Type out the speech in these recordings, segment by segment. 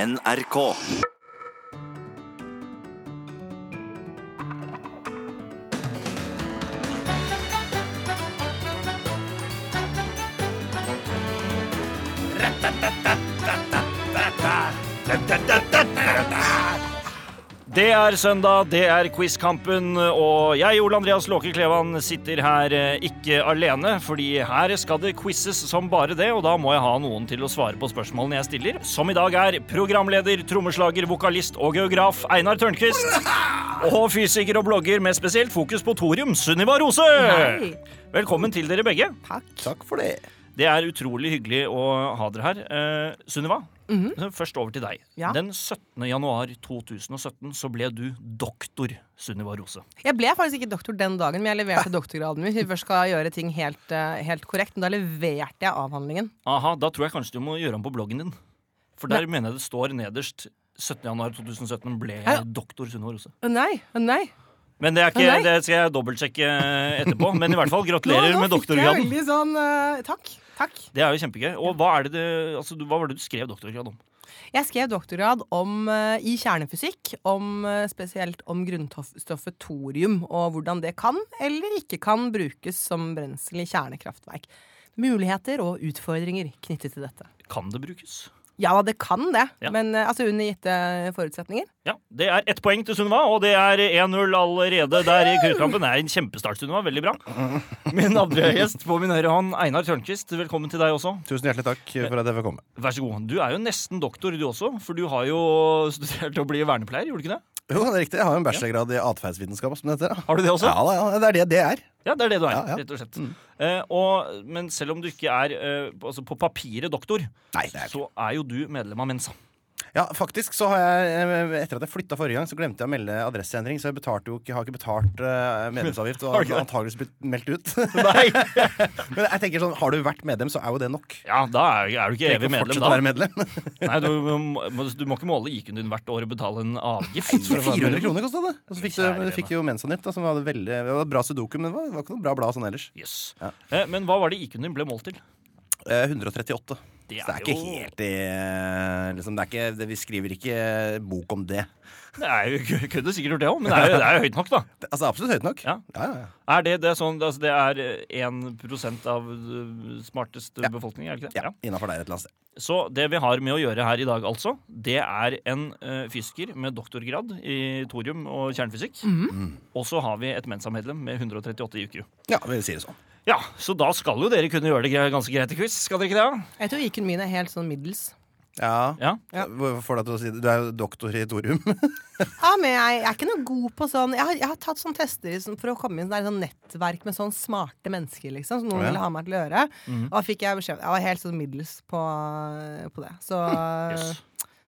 NRK. Det er søndag, det er quizkampen, og jeg, Ole Andreas Låke Klevan, sitter her eh, ikke alene, fordi her skal det quizes som bare det, og da må jeg ha noen til å svare på spørsmålene jeg stiller, som i dag er programleder, trommeslager, vokalist og geograf Einar Tørnquist, og fysiker og blogger med spesielt fokus på thorium, Sunniva Rose. Hei. Velkommen til dere begge. Takk for det. Det er utrolig hyggelig å ha dere her. Eh, Sunniva, først over til deg. Mhm. Ja. Den 17. januar 2017 så ble du doktor Sunniva Rose. Jeg ble faktisk ikke doktor den dagen, men jeg leverte doktorgraden min. Hvis jeg først skal gjøre ting helt, eh, helt korrekt, men da leverte jeg avhandlingen. Aha, Da tror jeg kanskje du må gjøre om på bloggen din. For der mener jeg det står nederst 17. januar 2017 ble Ja. jeg doktor Sunniva Rose. Å nei, å nei. Men det, er ikke, Nei. det skal jeg dobbeltsjekke etterpå. Men i hvert fall Nå, gratulerer nå med fikk jeg doktorgraden. veldig sånn eh, Takk. Takk. Det er jo kjempegøy. Og hva, er det, det- altså, du- hva var det du skrev doktorgrad om? Jeg skrev doktorgrad om, eh, i kjernefysikk, om, eh, spesielt om grunnstoffet thorium, og hvordan det kan eller ikke kan brukes som brensel i kjernekraftverk. Muligheter og utfordringer knyttet til dette. Kan det brukes? Ja, det kan det, Ja. men eh, altså under gitte forutsetninger. Ja, Det er ett poeng til Sunniva, og det er 1-0 allerede der i kutkampen. Det er en kjempestart, Sunniva. Veldig bra. Min andre gjest på min høyre hånd, Einar Tørnquist, velkommen til deg også. Tusen hjertelig takk for at jeg fikk komme. Vær så god. Du er jo nesten doktor, du også, for du har jo studert til å bli vernepleier, gjorde du ikke det? Jo, det er riktig. Jeg har jo en bachelorgrad i atferdsvitenskap. som det heter. da. Har du det også? Ja, da, ja, det er det det er. Ja, det er det du er, Ja, Mm. ja. rett og slett. Eh, og, men selv om du ikke er eh, altså på papiret doktor, Nei, det er ikke. så er jo du medlem av Mensa. Ja, faktisk så har jeg, eh, Etter at jeg flytta forrige gang, så glemte jeg å melde adresseendring. Så jeg betalte jo ikke, har ikke betalt eh, medlemsavgift og Har du har ikke det? antakeligvis blitt meldt ut. Nei! Men jeg tenker sånn, har du vært medlem, så er jo det nok. Ja, da er, er du ikke Trenger ikke å evig medlem, fortsette da. å være medlem. Nei, du, må- du må ikke måle IQ-en din hvert år og betale en avgift. for å være 400 medlem. kroner kosta det. Og så fikk, du, Kjære du fikk jo Mensanytt, da, som hadde veldig, det var et bra sudoku, men det var, det var ikke noe bra blad sånn ellers. Yes. Ja. Eh, men hva var det IQ-en din ble målt til? Eh, 138. Det så det er ikke jo- helt i eh, liksom, det er ikke, det, Vi skriver ikke eh, bok om det. Det er jo kunne sikkert gjort det òg, men det er, jo, det er jo høyt nok, da. Det- Altså Absolutt høyt nok. Ja. Ja, ja, ja. Er det, det er sånn altså, Det er eh, 1 av eh, smartest Ja. befolkning, er det ikke det? ja. Innafor der et eller annet sted. Så det vi har med å gjøre her i dag, altså, det er en eh, fysiker med doktorgrad i thorium og kjernefysikk. Mm. Og så har vi et Mensa-medlem med 138 i IQ. Ja, vi sier det sånn. Ja, så da skal jo dere kunne gjøre det gre- ganske greit i quiz, skal dere ikke det? da? Jeg tror IQ-en min er helt sånn middels. Ja. Ja. Hvorfor får deg til å si det? Du er jo doktor i thorium. Ja, men jeg, jeg er ikke noe god på sånn Jeg har, jeg har tatt sånn tester i sånn- for å komme inn i sånn nettverk med sånn smarte mennesker, liksom. Som noen Å, ja. ville ha meg til å gjøre. Mhm. Og da fikk jeg beskjed Jeg var helt sånn middels på, på det. Så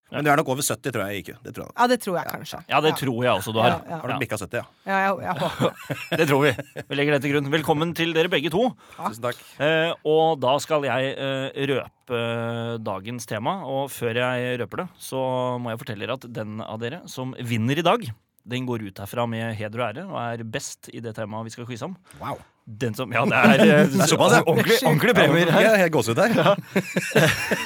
Yes. Men du er nok over 70, tror jeg. Ikke. Det tror jeg. nok. Ja, det tror jeg kanskje. Ja, det tror jeg også du har. Ja, ja. Har du bikka 70, ja. Ja, jeg, jeg håper det. Det tror vi. Vi legger det til grunn. Velkommen til dere begge to. Tusen takk. Eh, og da skal jeg eh, røpe eh, dagens tema. Og før jeg røper det, så må jeg fortelle dere at den av dere som vinner i dag, den går ut herfra med heder og ære og er best i det temaet vi skal quize om. Wow. Den som Ja, det er, eh, er såpass, ja. ordentlig, ordentlig premier her. Ja, jeg har gåsehud her.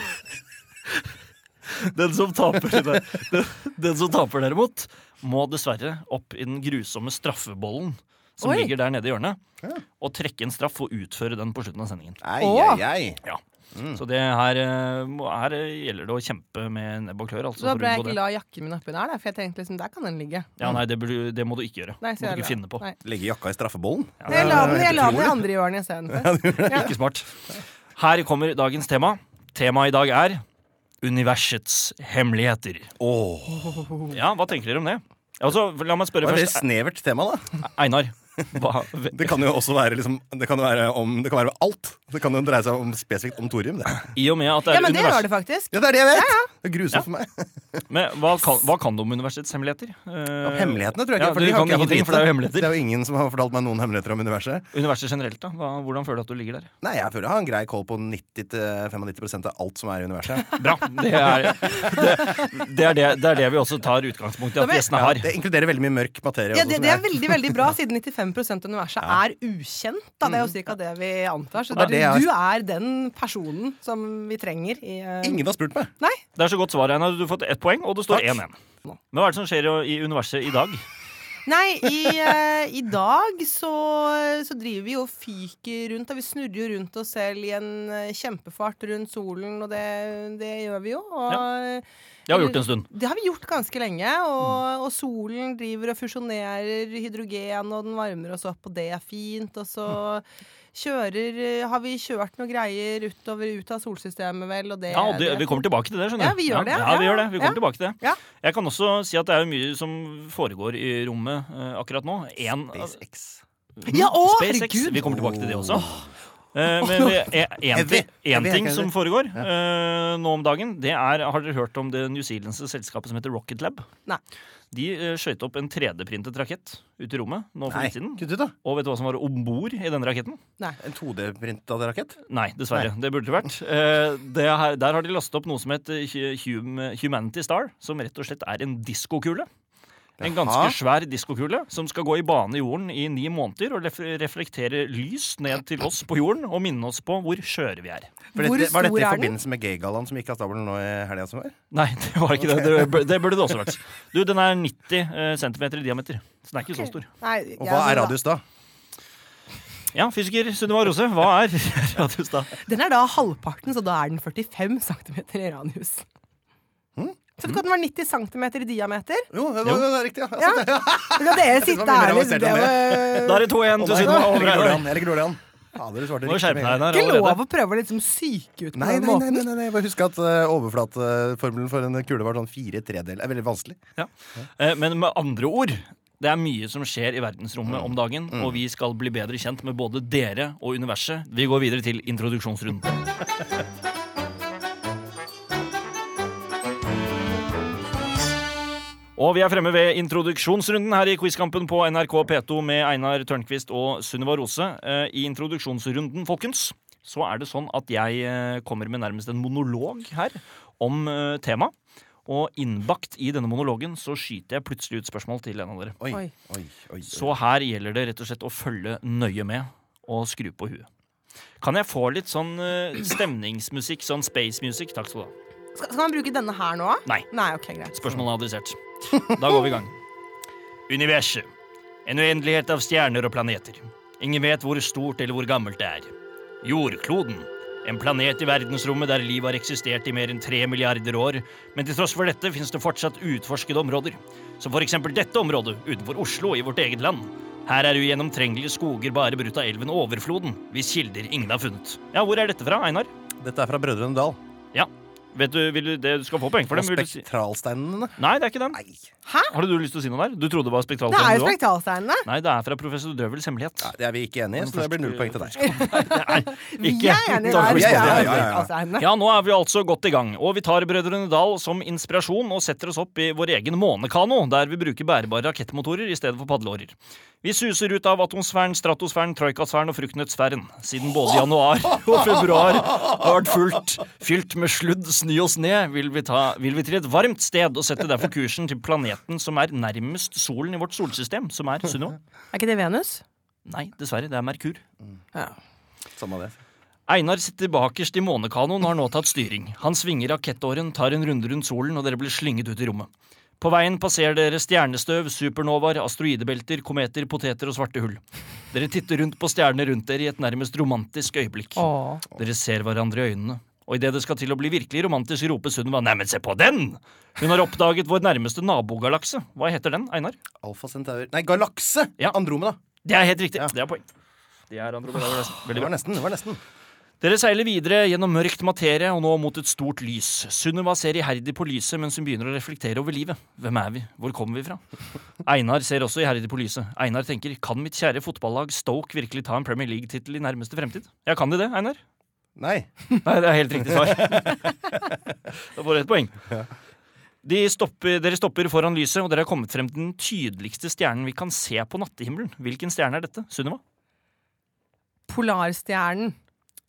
Den som taper, den, den som taper derimot, må dessverre opp i den grusomme straffebollen som Oi. ligger der nede i hjørnet, Ja. og trekke en straff og utføre den på slutten av sendingen. Ei, Åh. ei, ei. Mm. Så det her, eh, må- her eh, gjelder det å kjempe med nebb og klør. Altså, Så det for å var bra unngå jeg det. ikke la jakken min oppi der, da, for jeg tenkte liksom der kan den ligge. Ja, nei, det, burde, du- det må du ikke gjøre. Nei, må du jeg ikke finne på. Nei. Legge jakka i straffebollen. Jeg la den, jeg la den i utrolig. andre hjørnet istedenfor. Ikke smart. Her kommer dagens tema. Temaet i dag er universets hemmeligheter. Åh. Ja, hva tenker dere om det? Altså, la meg spørre Det var et veldig først. snevert tema, da. Einar. Hva, Det kan jo også være liksom Det kan jo være om det kan være alt. Det kan jo dreie seg om spesifikt om thorium. Det. I og med at det Ja, er men det gjør univers... det faktisk. Ja, det er det jeg vet! Det er grusomt Ja. Eh, for meg. Men hva kan, hva kan du om universets hemmeligheter? Om Eh, Hemmelighetene tror jeg ja, ikke. for du de har kan ikke jeg fått ingenting, vite. for det er jo hemmeligheter. Det er jo ingen som har fortalt meg noen hemmeligheter om universet. Universet generelt, da? Hva, hvordan føler du at du ligger der? Nei, jeg føler jeg har en grei koll på 90-95 av alt som er i universet. Bra. Det er det, det, er det, det, er det vi også tar utgangspunkt i Da at vil- gjestene har. Det inkluderer veldig mye mørk materie. Ja, også, det, som det er jeg- veldig veldig bra, siden 95 95 av universet er ukjent. Da. Det er jo cirka det vi antar. Så Og det er du, det jeg- du er den personen som vi trenger i eh, Ingen har spurt meg. Nei, Det er så godt svar, Einar. Du har fått ett poeng, og det står Takk. 1-1. Men hva er det som skjer i universet i dag? Nei, i, eh, i dag så, så driver vi og fyker rundt. Da. Vi snurrer jo rundt oss selv i en eh, kjempefart rundt solen, og det, det gjør vi jo. Og, Det har vi gjort en stund. Det har vi gjort ganske lenge, og, og solen driver og fusjonerer hydrogen, og den varmer oss opp, og det er fint. Og så kjører Har vi kjørt noe greier utover ut av solsystemet, vel, og det Ja, og det, Vi kommer tilbake til det. skjønner Ja, vi gjør det, Ja, vi ja, gjør det. Vi kommer ja. tilbake til det. Ja. Jeg kan også si at det er jo mye som foregår i rommet eh, akkurat nå. En, SpaceX. Ja, å, SpaceX. herregud! Vi kommer tilbake til det også. Eh, men én Heavy, ting heavy. som foregår eh, nå om dagen, det er Har dere hørt om det newzealandske selskapet som heter Rocket Lab? Nei. De uh, skøyt opp en 3D-printet rakett ut i rommet nå for Nei, litt siden. kutt ut, da. Og vet du hva som var om bord i denne raketten? En 2D-printa rakett? Nei, dessverre. Det burde det vært. Eh, det her, der har de lastet opp noe som heter hu- hum, Humanity Star, som rett og slett er en diskokule. En ganske Jaha. svær diskokule som skal gå i bane i jorden i ni måneder og ref reflektere lys ned til oss på jorden og minne oss på hvor skjøre vi er. For Hvor dette, var dette i stor er den? forbindelse med gaygallaen som gikk av stabelen nå i helga som var? Nei, det var ikke det. Det, bur- det burde det også vært. Du, den er 90 cm i diameter, så den er ikke så stor. Nei, Og ja, hva men er da- radius da? Ja, fysiker Sunniva Rose, hva er radius da? Den er da halvparten, så da er den 45 cm i radius. Hm? Så det kan være 90 cm i diameter. Jo, det, Jo. det, det er riktig. Ja. Ja. Altså, La dere sitte mye mer her avansert liksom. Det enn Da var er det 2-1 til Å, Sunniva. nei, over Jeg ligger Einar. dårlig an, jeg ligger dårlig an. Fader, du svarte Må du skjerpe riktig. med en deg, gang. Einar. ikke allerede. lov å prøve å liksom syke ut på Nei, den nei, nei, måten. nei, nei, nei. Bare husk at eh, overflateformelen for en kule var sånn fire tredel. Det er veldig vanskelig. Ja. Eh, Men med andre ord det er mye som skjer i verdensrommet om dagen, og vi skal bli bedre kjent med både dere og universet. Vi går videre til introduksjonsrunden. Og vi er fremme ved introduksjonsrunden her i Quizkampen på NRK P2 med Einar Tørnquist og Sunniva Rose. Eh, I introduksjonsrunden, folkens, så er det sånn at jeg eh, kommer med nærmest en monolog her om eh, temaet. Og innbakt i denne monologen så skyter jeg plutselig ut spørsmål til en av dere. Oi, oi, Oi. oi. oi. Så her gjelder det rett og slett å følge nøye med og skru på huet. Kan jeg få litt sånn eh, stemningsmusikk, sånn space music? Takk skal du ha. Skal, skal man bruke denne her nå? Nei. Nei, ok, greit. Spørsmålet er adressert. Da går vi i gang. Universet. En uendelighet av stjerner og planeter. Ingen vet hvor stort eller hvor gammelt det er. Jordkloden. En planet i verdensrommet der liv har eksistert i mer enn tre milliarder år, men til tross for dette finnes det fortsatt utforskede områder, som for eksempel dette området utenfor Oslo i vårt eget land. Her er ugjennomtrengelige skoger bare brutt av elven Overfloden, hvis kilder ingen har funnet. Ja, hvor er dette fra, Einar? Dette er fra Brødrene Dal. Ja, vet du, vil du, det, du skal få poeng for Og det. men Vil du si... spektralsteinene. Nei, det er ikke den. Nei. Har du lyst til å si noe der? Du trodde det var Det er spektralstein? jo du også? spektralsteinene. Nei, det er fra professor Drøvels hemmelighet. Det er vi ikke enige i, så det blir null poeng til deg. Vi Ikke- er enige Takk der. for Vi er spørsmålet. Ja, ja, enige ja, ja. spektralsteinene. Ja, nå er vi altså godt i gang, og vi tar Brødrene Dal som inspirasjon og setter oss opp i vår egen månekano, der vi bruker bærbare rakettmotorer i stedet for padleårer. Vi suser ut av atmosfæren, stratosfæren, troikasfæren og fruktnøttsfæren, siden både januar og februar har vært fullt, fylt med sludd, snø og sne, vil vi, ta, vil vi til et varmt sted og setter derfor kursen til planeten som er nærmest solen i vårt solsystem, som er Sunniva. Er ikke det Venus? Nei, dessverre, det er Merkur. Ja. Samme det. Einar sitter bakerst i månekanoen og har nå tatt styring. Han svinger rakettåren, tar en runde rundt solen, og dere blir slynget ut i rommet. På veien passerer dere stjernestøv, supernovaer, asteroidebelter, kometer, poteter og svarte hull. Dere titter rundt på stjernene rundt dere i et nærmest romantisk øyeblikk. Åh. Dere ser hverandre i øynene. Og idet det skal til å bli virkelig romantisk, roper Sunniva 'neimen, se på den'! Hun har oppdaget vår nærmeste nabogalakse. Hva heter den, Einar? Alfa Centaur Nei, galakse! Ja. Andromeda. Det er helt riktig. Det er poeng. Det er Andromeda. Veldig Det bra. var nesten. det var nesten Dere seiler videre gjennom mørkt materie og nå mot et stort lys. Sunniva ser iherdig på lyset mens hun begynner å reflektere over livet. Hvem er vi? Hvor kommer vi fra? Einar ser også iherdig på lyset. Einar tenker kan mitt kjære fotballag Stoke virkelig ta en Premier League-tittel i nærmeste fremtid? Ja, kan de det, Einar? Nei. Nei, det er helt riktig svar. da får du et poeng. De stopper, dere stopper foran lyset, og dere har kommet frem til den tydeligste stjernen vi kan se på nattehimmelen. Hvilken stjerne er dette? Sunniva? Polarstjernen.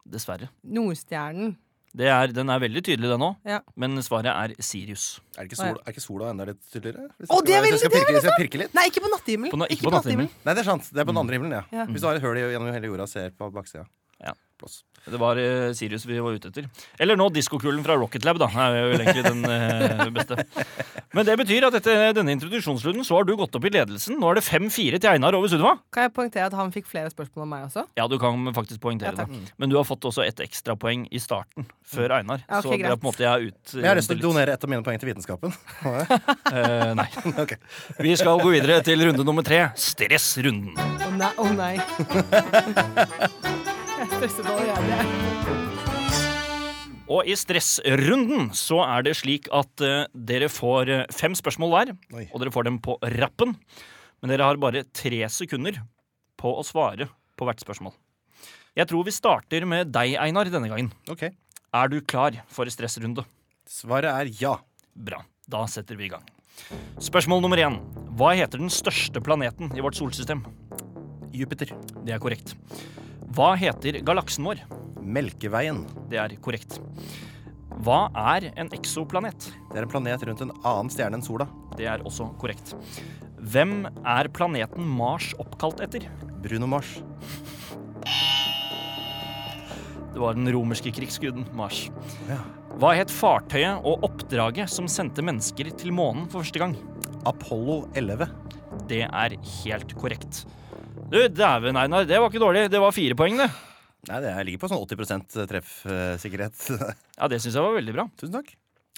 Dessverre. Nordstjernen. Det er, den er veldig tydelig, den òg. Ja. Men svaret er Sirius. Er ikke, Å, ja. sol, er ikke sola enda litt tydeligere? Hvis jeg Å, skal- det er hvis jeg veldig- skal det er pirke- Hvis jeg pirker litt? Nei, ikke på natthimmelen. På na- ikke på natthimmelen. Nei, det er sant. Det er på den andre himmelen, ja. Ja. Hvis du har et hull i- gjennom hele jorda og ser på baksida. Ja. Blås. Det var eh, Sirius vi var ute etter. Eller nå diskokulen fra Rocket Lab, da. Er jo egentlig den eh, beste. Men det betyr at etter denne introduksjonsrunden så har du gått opp i ledelsen. Nå er det 5-4 til Einar over Sunniva. Kan jeg poengtere at han fikk flere spørsmål enn meg også? Ja, du kan faktisk Ja, poengtere takk. Mm. det. Men du har fått også et ekstrapoeng i starten, før Einar. Ja, ok, så det er greit. på en måte jeg er ut Men jeg har lyst til å litt. donere ett av mine poeng til vitenskapen. Eh, nei. Ok. Vi skal gå videre til runde nummer tre. Stressrunden. Å nei. å nei. jeg er stresset allerede. jeg. Og i stressrunden så er det slik at eh, dere får eh, fem spørsmål hver, Oi. og dere får dem på rappen. Men dere har bare tre sekunder på å svare på hvert spørsmål. Jeg tror vi starter med deg, Einar, denne gangen. Ok. Er du klar for stressrunde? Svaret er ja. Bra. Da setter vi i gang. Spørsmål nummer én. Hva heter den største planeten i vårt solsystem? Jupiter. Det er korrekt. Hva heter galaksen vår? Melkeveien. Det er korrekt. Hva er en eksoplanet? Det er en planet rundt en annen stjerne enn sola. Det er også korrekt. Hvem er planeten Mars oppkalt etter? Bruno Mars. Det var den romerske krigsguden Mars. Ja. Hva het fartøyet og oppdraget som sendte mennesker til månen for første gang? Apollo 11. Det er helt korrekt. Du, dæven, Einar, det var ikke dårlig. Det var fire poeng, det. Nei, det jeg ligger på sånn 80 treffsikkerhet. Ja, det syns jeg var veldig bra. Tusen takk.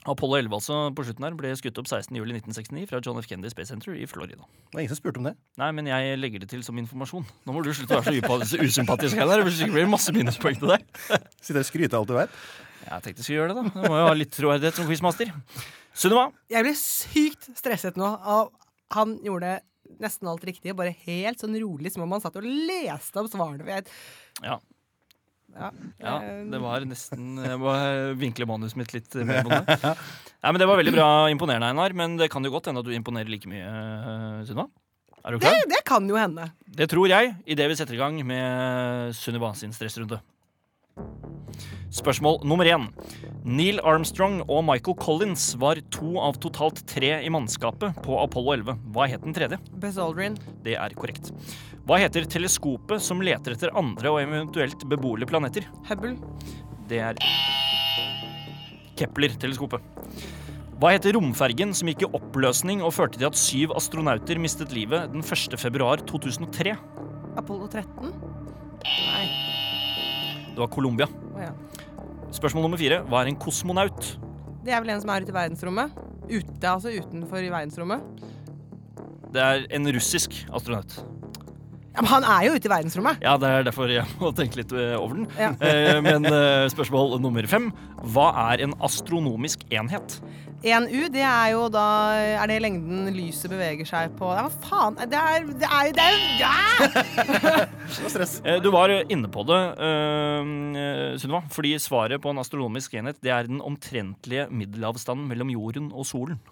Apollo 11 altså på slutten her ble skutt opp 16.07.1969 fra John F. Kennedy Space Center i Florida. Det var ingen som spurte om det. Nei, men jeg legger det til som informasjon. Nå må du slutte å være så upa- usympatisk, Einar. Hvis ikke blir det masse minuspoeng til deg. Sitter og skryter av alt du vet. Jeg tenkte jeg skulle gjøre det, da. Jeg må jo ha litt troverdighet som quizmaster. Sunniva, Jeg ble sykt stresset nå. Og han gjorde nesten alt riktig, bare helt sånn rolig, som om han satt og leste opp svarene. Jeg, Ja. ja, Ja, eh, det var nesten Jeg må vinkle manuset mitt litt mer på det. Nei, men Det var veldig bra imponerende, Einar, men det kan jo godt hende at du imponerer like mye, eh, Sunniva. Er du klar? det, det kan jo hende. Det tror jeg idet vi setter i gang med Sunniva sin stressrunde. Spørsmål nummer én. Neil Armstrong og Michael Collins var to av totalt tre i mannskapet på Apollo 11. Hva het den tredje? Buzz Aldrin. Det er korrekt. Hva heter teleskopet som leter etter andre og eventuelt beboelige planeter? Hubble. Det er Kepler-teleskopet. Hva heter romfergen som gikk i oppløsning og førte til at syv astronauter mistet livet den 1. februar 2003? Apollo 13. Nei. Det var Colombia. Å ja. Spørsmål nummer fire. Hva er en kosmonaut? Det er vel en som er ute i verdensrommet. Ute, altså utenfor i verdensrommet. Det er en russisk astronaut. Ja, men han er jo ute i verdensrommet! Ja, det er derfor jeg må tenke litt eh, over den. Ja. Eh, Men eh, spørsmål nummer fem. Hva er en astronomisk enhet? 1U, det er jo da Er det lengden lyset beveger seg på Ja, hva faen? Det er Det er jo det er, jo- ja! Det var stress. Eh, Du var inne på det, eh, Sunniva, fordi svaret på en astronomisk enhet det er den omtrentlige middelavstanden mellom jorden og solen.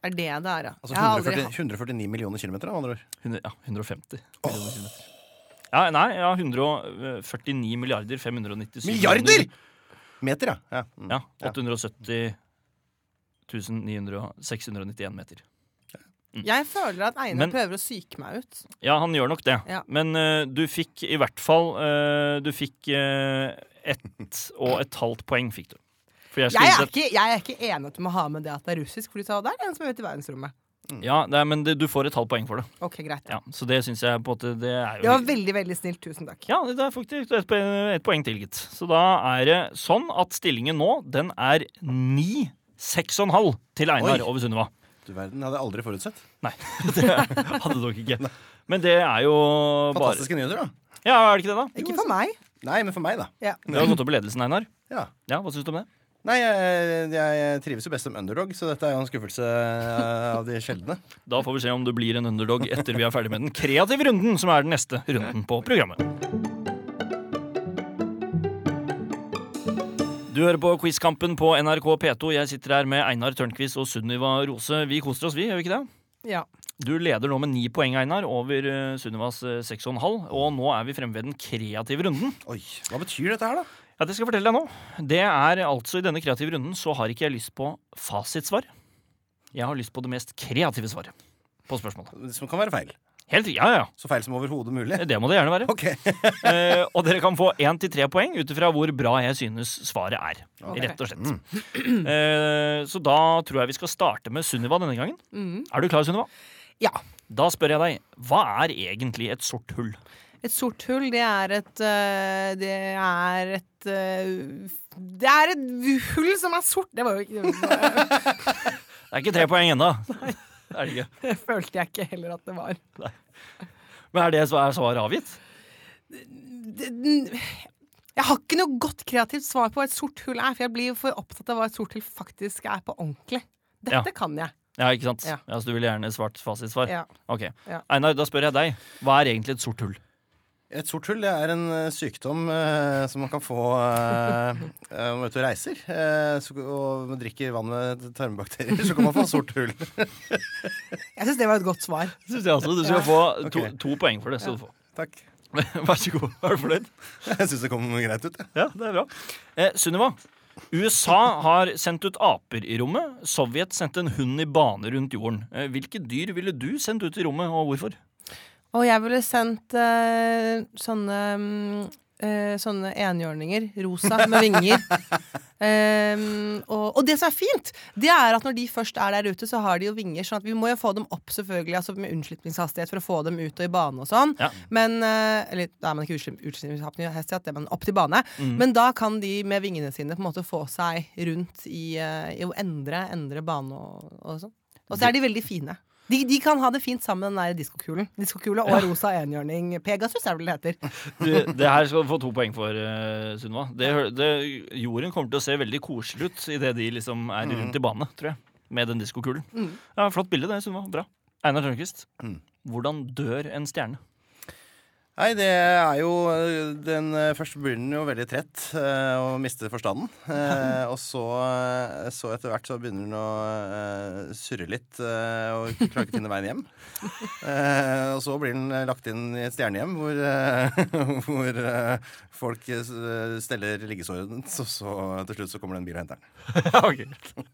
Er det det er, ja. Altså Jeg har aldri 140, hatt- 149 millioner kilometer, da, med andre ord. Hundre- ja, 150 millioner kilometer. Ja, nei, ja, 149 milliarder 597 Milliarder?! Meter, ja. ja. Mm. Ja, 870 900 691 meter. Jeg føler at Einar Men- prøver å syke meg ut. Ja, han gjør nok det. Ja. Men eh, du fikk i hvert fall eh, Du fikk eh, ett og et halvt poeng, fikk du. For jeg Jeg skulle er, sett- ikke, jeg er ikke enig at du må ha med det at det er russisk, for du sa det er en som er ute i verdensrommet. Ja, nei, men det, du får et halvt poeng for det. Ok, greit. Ja, så det syns jeg på en måte Det er jo Det var veldig, veldig snilt. Tusen takk. Ja, det er faktisk ett poeng, et poeng til, gitt. Så da er det sånn at stillingen nå, den er ni, seks og en halv til Einar Oi. over Sunniva. Du verden, hadde jeg aldri forutsett. Nei, det hadde dere ikke. Men det er jo bare Fantastiske nyheter, da. Ja, er det ikke det, da? Ikke for meg. Nei, men for meg, da. Ja. Du har gått opp i ledelsen, Einar. Ja. Ja, Hva syns du om det? Nei, jeg, jeg trives jo best som underdog, så dette er jo en skuffelse eh, av de sjeldne. Da får vi se om du blir en underdog etter vi er ferdig med den kreative runden, som er den neste runden på programmet. Du hører på Quizkampen på NRK P2. Jeg sitter her med Einar Tørnquist og Sunniva Rose. Vi koser oss, vi, gjør vi ikke det? Ja. Du leder nå med ni poeng, Einar, over eh, Sunnivas eh, seks og en halv. Og nå er vi fremme ved den kreative runden. Oi, Hva betyr dette her, da? Ja, Det skal jeg fortelle deg nå. Det er altså I denne kreative runden så har ikke jeg lyst på fasitsvar. Jeg har lyst på det mest kreative svaret på spørsmålet. Som kan være feil. Helt, ja, ja. Så feil som overhodet mulig. Det må det gjerne være. Ok. Eh, og dere kan få én til tre poeng ut ifra hvor bra jeg synes svaret er. Ok. Rett og slett. Eh, så da tror jeg vi skal starte med Sunniva denne gangen. Mm. Er du klar, Sunniva? Ja. Da spør jeg deg, hva er egentlig et sort hull? Et sort hull, det er et øh, Det er et øh, Det er et hull som er sort! Det var jo ikke Det er ikke tre poeng ennå. Er det ikke? Det følte jeg ikke heller at det var. Men er det svar- er svaret avgitt? Det- den- Jeg har ikke noe godt kreativt svar på hva et sort hull er, for jeg blir jo for opptatt av hva et sort hull faktisk er på ordentlig. Dette Ja. kan jeg. Ja, ikke sant? Ja. Ja. så du vil gjerne svart fasitsvar? Ja. Ok. Ja. Einar, da spør jeg deg, hva er egentlig et sort hull? Et sort hull det er en eh, sykdom eh, som man kan få eh, eh, om man er ute og reiser. eh, så, og man drikker vann med tarmbakterier, så kan man få sort hull. Jeg syns det var et godt svar. Synes jeg altså, Du skal få to, Ok. to poeng for det. skal du få. Takk. Vær så god. Er du fornøyd? Jeg syns det kom greit ut. jeg. Ja, det er bra. Eh, Sunniva, USA har sendt ut aper i rommet. Sovjet sendte en hund i bane rundt jorden. Eh, hvilke dyr ville du sendt ut i rommet, og hvorfor? Og jeg ville sendt eh, sånne mm, eh, Sånne enhjørninger. Rosa med vinger. Ehm, og, og det som er fint, det er at når de først er der ute, så har de jo vinger. Sånn at vi må jo få dem opp selvfølgelig altså med unnslippingshastighet for å få dem ut og i bane og sånn. Ja. Men eh, Eller da er man ikke utslipp- unnslippingshastighet, det er man opp til bane. Men da kan de med vingene sine på en måte få seg rundt i, eh, i å endre, endre bane og, og sånn. Og så er de veldig fine. De, de kan ha det fint sammen med den der diskokule. Diskokule og rosa enhjørning. Pegasus er det vel det heter. Du, det her skal du få to poeng for, eh, Sunniva. Det, hø- det, jorden kommer til å se veldig koselig ut idet de liksom er rundt i bane, tror jeg. Med den diskokulen. Ja, flott bilde, det, Sunniva. Bra. Einar Tørnquist, hvordan dør en stjerne? Nei, det er jo eh, den, Først blir den jo veldig trett eh, og mister forstanden. Eh, og så, eh, så etter hvert så begynner den å eh, surre litt eh, og klarer ikke å finne veien hjem. Eh, og så blir den lagt inn i et stjernehjem hvor, eh, hvor eh, folk eh, steller liggesårene. Så, så til slutt så kommer det en bil og henter den. Ja, ok.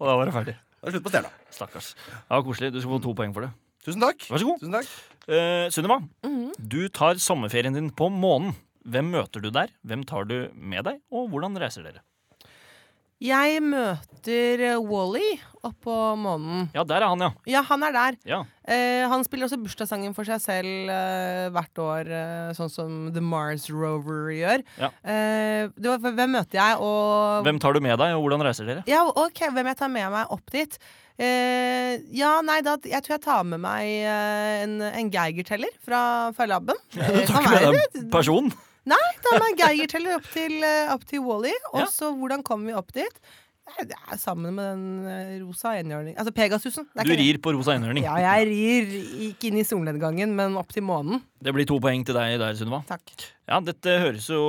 Og da var det ferdig. Da er det slutt på stjerna. Stakkars. Ja, Koselig. Du skal få to poeng for det. Tusen takk. Vær så god. Tusen takk. Eh, Sunniva, Mhm. du tar sommerferien din på månen. Hvem møter du der? Hvem tar du med deg? Og hvordan reiser dere? Jeg møter eh, Wally oppå månen. Ja, der er han, ja. Ja, han er der. ja. Eh, han spiller også bursdagssangen for seg selv eh, hvert år, eh, sånn som The Mars Rover gjør. Ja. Eh, det var, hvem møter jeg, og Hvem tar du med deg, og hvordan reiser dere? Ja, ok, hvem jeg tar med meg opp dit? Eh, ja, nei, da, jeg tror jeg tar med meg eh, en, en Geiger-teller fra, fra laben. Du Det tar kan ikke med være deg en person? Nei, ta med en Geiger-teller opp til, eh, opp til Wally. Og Ja. så hvordan kommer vi opp dit? Nei, Det er sammen med den eh, rosa enhjørningen Altså Pegasusen. Det er Du ikke- rir på rosa enhjørning. Ja, jeg rir ikke inn i solnedgangen, men opp til månen. Det blir to poeng til deg der, Sunniva. Takk. Ja, dette høres jo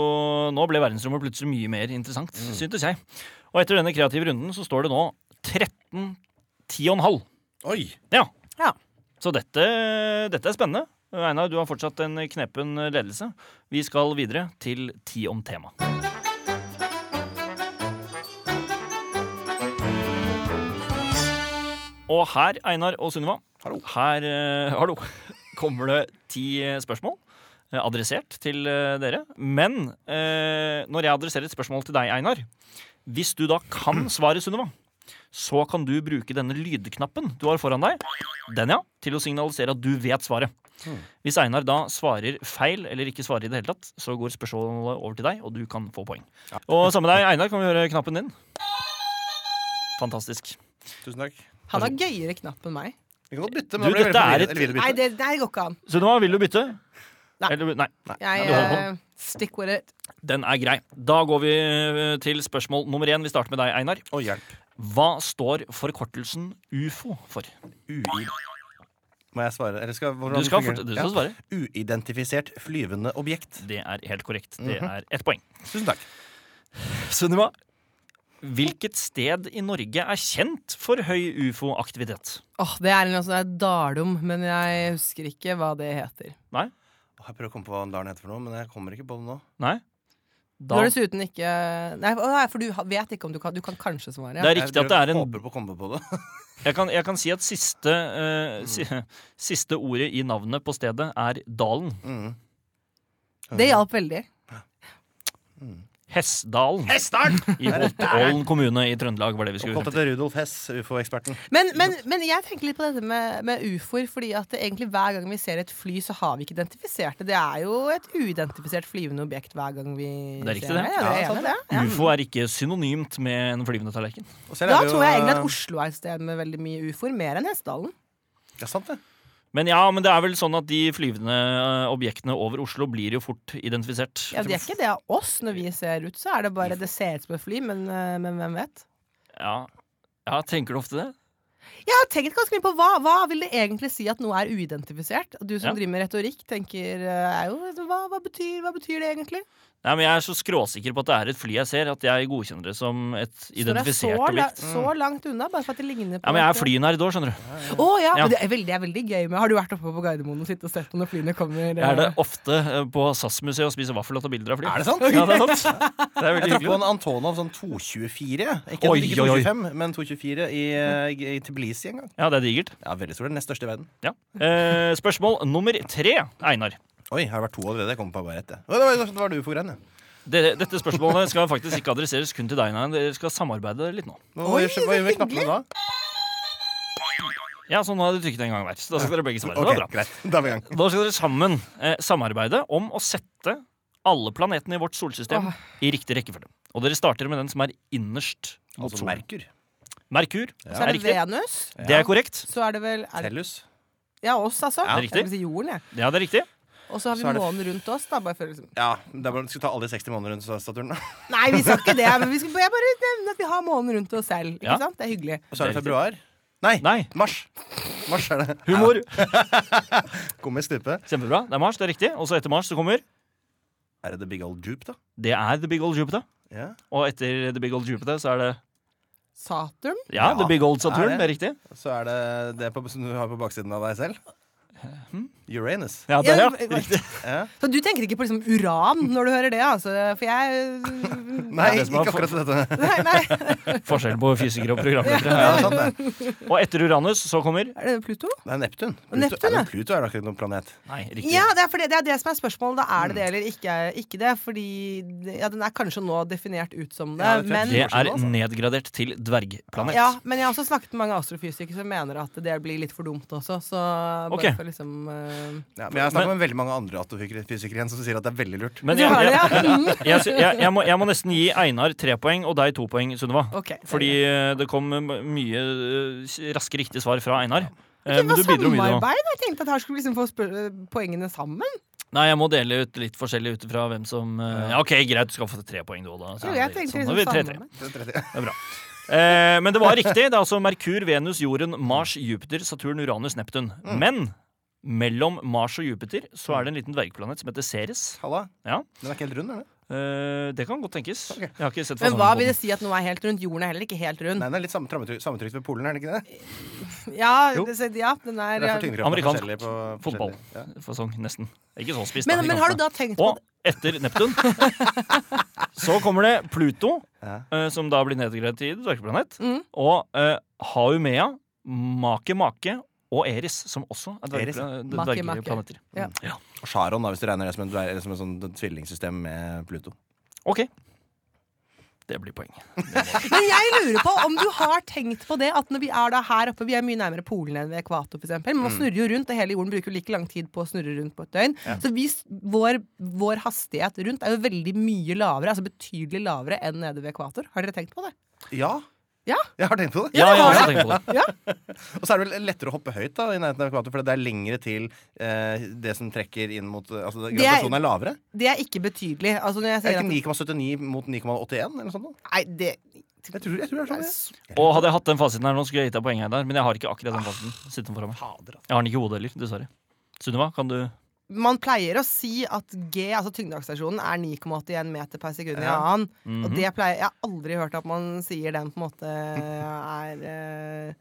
Nå ble verdensrommet plutselig mye mer interessant, syntes jeg. Og etter denne kreative runden så står det nå 13 10,5. Oi. Ja. Ja. Så dette, dette er spennende. Einar, du har fortsatt en knepen ledelse. Vi skal videre til Ti om tema. Og her, Einar og Sunniva, her eh, hallo, kommer det ti eh, spørsmål eh, adressert til eh, dere. Men eh, når jeg adresserer et spørsmål til deg, Einar Hvis du da kan svaret, Sunniva, så kan du bruke denne lydknappen du har foran deg, den ja, til å signalisere at du vet svaret. Hvis Einar da svarer feil eller ikke svarer i det hele tatt, så går spørsmålet over til deg, og du kan få poeng. Og sammen med deg, Einar, kan vi høre knappen din? Fantastisk. Tusen takk. Han har gøyere knapp enn meg. Vi kan godt bytte, Du, men da blir det dette veldig forvirret. er Eller et- vil du Nei, bytte? det, det går ikke an. Sunniva, vil du bytte? Nei. Eller, nei. Jeg du holder på. eh, stick with it. Den er grei. Da går vi eh, til spørsmål nummer én. Vi starter med deg, Einar. Å, hjelp. Hva står forkortelsen UFO for? Uid. Må jeg svare? Eller skal, hvordan Du skal, fungerer det? fort- du Ja. skal svare. Uidentifisert flyvende objekt. Det er helt korrekt. Det Mhm. er ett poeng. Tusen takk. Sunniva, hvilket sted i Norge er kjent for høy ufo-aktivitet? Åh, Det er en sånn dalum, men jeg husker ikke hva det heter. Nei? Åh, Jeg prøver å komme på hva dalen heter for noe, men jeg kommer ikke på det nå. Nei? Du Da, har dessuten ikke Nei, å, nei, for du ha- vet ikke om du kan Du kan kanskje svare. det Ja. er riktig at det er en Håper på å komme på det. Jeg kan, jeg kan si at siste, eh, si, siste ordet i navnet på stedet er Dalen. Mm. Det hjalp veldig. Hessdalen Hestdalen! i Holtålen kommune i Trøndelag var det vi skulle Oppkalt frem til. etter Rudolf Hess, ufo-eksperten. Men, men, men jeg tenker litt på dette med, med ufoer, fordi at det egentlig hver gang vi ser et fly, så har vi ikke identifisert det. Det er jo et uidentifisert flyvende objekt hver gang vi Det er riktig, ser det. Ja, Ja, det, er enig, sant i det. Ufo er ikke synonymt med en flyvende tallerken. Og selv Da er det jo- tror jeg egentlig at Oslo er et sted med veldig mye ufoer, mer enn Hessdalen. Ja, sant det. Men ja, men det er vel sånn at de flyvende eh, objektene over Oslo blir jo fort identifisert. Ja, det er ikke det av oss når vi ser ut, så er det bare det ser ut som et fly, men, eh, men hvem vet? Ja. ja, tenker du ofte det? Jeg har tenkt ganske mye på hva, hva vil det egentlig si at noe er uidentifisert? Du som Ja. driver med retorikk, tenker eh, er jo, hva, hva, betyr, hva betyr det egentlig? Nei, men Jeg er så skråsikker på at det er et fly jeg ser, at jeg godkjenner det som et Når det er så, identifisert la, objekt. så langt unna, bare for at det ligner på Ja, Men jeg er et- flynerd òg, skjønner du. Å ja, Ja. men Det, er veldig, det er veldig gøy med Har du vært oppe på Gardermoen og sittet og sett på når flyene kommer? Jeg er det eh? ofte eh, på SAS-museet og spiser vaffel og tar bilder av fly. Er det sant? Ja, det er sant. Jeg Det er veldig traff på hyggelig. en Antonov sånn 224. jeg. Ikke, Oi, ikke oi, oi. 225, men 224 i, eh, i Tbilisi en gang. Ja, det er digert. Ja, veldig stor. Den nest største i verden. Ja. Eh, spørsmål nummer tre, Einar. Oi, har det vært to allerede? Jeg kommer på bare ett. jeg. Å, Det var, det var du for greien, ja. Dere, dette spørsmålet skal faktisk ikke adresseres kun til deg, Einar. Dere skal samarbeide litt nå. Hva Oi, gjør- hva gjør vi så knappene da? Ja, sånn har dere trykket en gang hver. Så da skal dere begge svare. Ok, det var bra. greit. Da er vi i gang. Da skal dere sammen eh, samarbeide om å sette alle planetene i vårt solsystem i riktig rekkefølge. Og dere starter med den som er innerst mot Altså solen. Merkur. Merkur Så er er det riktig. Venus. Det er korrekt. Så er det vel er det, Tellus. Ja, oss, altså. Ja, Jeg riktig. vil si jorden, jeg. Ja, det er riktig. Og så har vi Så er det- månen rundt oss. Da, bare for, liksom. Ja, det er bare, skal ta alle de 60 månedene rundt Saturn. da. Nei, vi sa ikke det. Men vi skal, jeg bare nevner at vi har månen rundt oss selv. Ikke Ja. sant? Det er hyggelig. Og så er det Det er februar. Nei, Nei. mars. Mars er det. Humor. Komisk type. Kjempebra. Det er Mars, det er riktig. Og så etter Mars så kommer Er det The Big Old Dupe, da? Det er The Big Old Jupiter. Ja. Og etter The Big Old Jupiter så er det Saturn. Ja, Ja, The Big Old Saturn. er det. Det er riktig. Så er det det på, som du har på baksiden av deg selv. Uranus. Ja, der, ja. Ja, det- Riktig. Ja. Så du tenker ikke på liksom uran når du hører det, altså? For jeg Nei, det som ikke er for- akkurat dette. Nei, nei. Forskjell på fysikere og programledere. Ja, sant det. Og etter Uranus så kommer Er det Pluto? det er Neptun. Pluto, Neptun, er ja. det Pluto er da ikke noen planet. Nei, riktig. Ja, det er, fordi, det er det som er spørsmålet. Da er det det eller ikke, ikke det? Fordi det- ja, den er kanskje nå definert ut som det. Ja, det tror jeg. men, Det er nedgradert til dvergplanet. ja, men jeg har også snakket med mange astrofysikere som mener at det blir litt for dumt også. Så bare Ok. for liksom eh, Ja, men jeg har snakket med veldig mange andre atomfysikere igjen som sier at det er veldig lurt. Men Du jeg, har det, jeg, ja? Mm. jeg, sy- jeg, jeg, må, jeg må nesten gi Einar tre poeng og deg to poeng, Sunniva. Ok, det er Fordi eh, det kom eh, mye eh, raske riktige svar fra Einar. Eh, Det Men var du bidro mye nå. samarbeid! Jeg tenkte at her skulle vi liksom få spør- poengene sammen. Nei, jeg må dele ut litt forskjellig ut ifra hvem som eh, Ja, OK, greit, du skal få tre poeng, du òg, da. Så Jo, er jeg det litt sånn. tenkte Da liksom blir det 3-3. samarbeid. Det er bra. Eh, men det var riktig. Det er altså Merkur, Venus, Jorden, Mars, Jupiter, Saturn, Uranus, Neptun. Mm. Men mellom Mars og Jupiter så er det en liten dvergplanet som heter Ceres. Halla. Ja. Den er ikke helt rund, er den? Eh, det kan godt tenkes. Ok. Jeg har ikke sett Men fasongen hva på vil den. det si at noe er helt rundt? Jorden er heller ikke helt rund. Sånn Nei, den er litt samme- sammentrykt sammentrykt ved polen, er den ikke det? Ja, Jo. det, så- ja, den er, Det er for tyngdekraften er Amerikansk forskjellig på- fotball. forskjellig. Ja. Fasong, nesten. Ikke så spiss. men, men har du da tenkt på Og etter Neptun så kommer det Pluto, Ja. eh, som da blir nedgradert til dvergplanet, og eh, Haumea, Make Make og Eris, som også er eh, Eris, ja. dvergpla- Make Make. dvergplaneter. Ja. Ja. Og Charon, da, hvis du regner det som, en, dver- som et sånt tvillingsystem med Pluto. Ok. Det blir poeng. Men jeg lurer på om du har tenkt på det at når vi er da her oppe Vi er mye nærmere Polen enn ved ekvator, f.eks. Men Mm. man snurrer jo rundt, og hele jorden bruker jo like lang tid på å snurre rundt på et døgn. Så vi, s- vår, vår hastighet rundt er jo veldig mye lavere, altså betydelig lavere enn nede ved ekvator. Har dere tenkt på det? Ja, Ja. jeg har tenkt på det. Ja, jeg har var også tenkt på det. Og så er det vel lettere å hoppe høyt da, i nærheten av ekvator, for det er lengre til eh, det som trekker inn mot eh, Altså Det er- gravitasjonen er lavere. Det er ikke betydelig. Altså når jeg Er sier at det ikke 9,79 mot 9,81 eller noe sånt? da? Nei, det Jeg tror, jeg tror det er sånn. ja. Og hadde jeg hatt den fasiten her nå, skulle jeg gitt deg poeng her, der, men jeg har ikke akkurat den fasiten sittende foran meg. Fader, altså. Jeg har den ikke i hodet heller, dessverre. Sunniva, kan du Man pleier å si at G, altså tyngdeaksstasjonen, er 9,81 meter per sekund i Ja. annen. Mhm. Og det pleier Jeg har aldri hørt at man sier den på en måte er eh.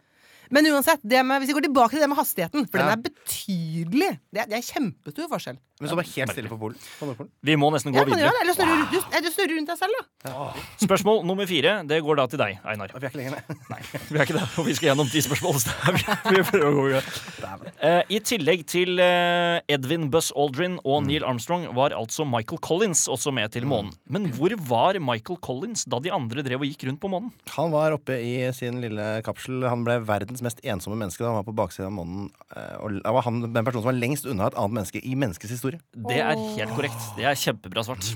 Men uansett, det med, hvis vi går tilbake til det med hastigheten, for Ja. den er betydelig. Det, er- det er kjempestor forskjell. Men så var det helt stille på polen. På Nordpolen. Vi må nesten gå Ja, man gjør videre. det. Eller snurrer rundt- du, du snurrer rundt deg selv, da. Spørsmål nummer fire, det går da til deg, Einar. Og vi er ikke lenger ned. Nei, vi er ikke der, og vi skal gjennom ti spørsmål. Så det er- vi prøver å gå i gang. Eh, I tillegg til eh, Edvin Buss Aldrin og Neil Armstrong var altså Michael Collins også med til månen. Men hvor var Michael Collins da de andre drev og gikk rundt på månen? Han var oppe i sin lille kapsel. Han ble verdens mest ensomme menneske. da Han var på baksiden av månen. eh, Og han var han, den personen som var lengst unna et annet menneske i menneskets historie. Det er helt korrekt. Det er kjempebra svart.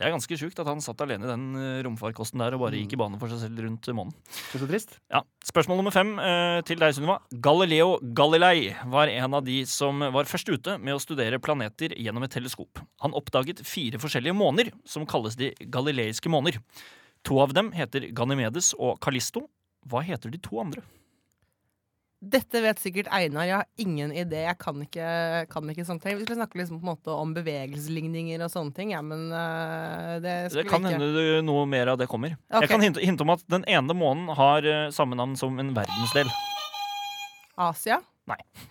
Det er ganske sjukt at han satt alene i den eh, romfarkosten der og bare gikk i bane for seg selv rundt månen. Så trist. Ja, Spørsmål nummer fem eh, til deg, Sunniva. Galileo Galilei var en av de som var først ute med å studere planeter gjennom et teleskop. Han oppdaget fire forskjellige måner, som kalles de galileiske måner. To av dem heter Ganymedes og Kalisto. Hva heter de to andre? Dette vet sikkert Einar. Jeg har ingen idé. Jeg kan ikke, kan ikke sånne ting. Vi skulle snakke liksom på en måte om bevegelsesligninger og sånne ting, ja, men øh, det Det skulle kan vi ikke. hende du- noe mer av det kommer. Ok. Jeg kan hinte, hinte om at den ene månen har eh, samme navn som en verdensdel. Asia?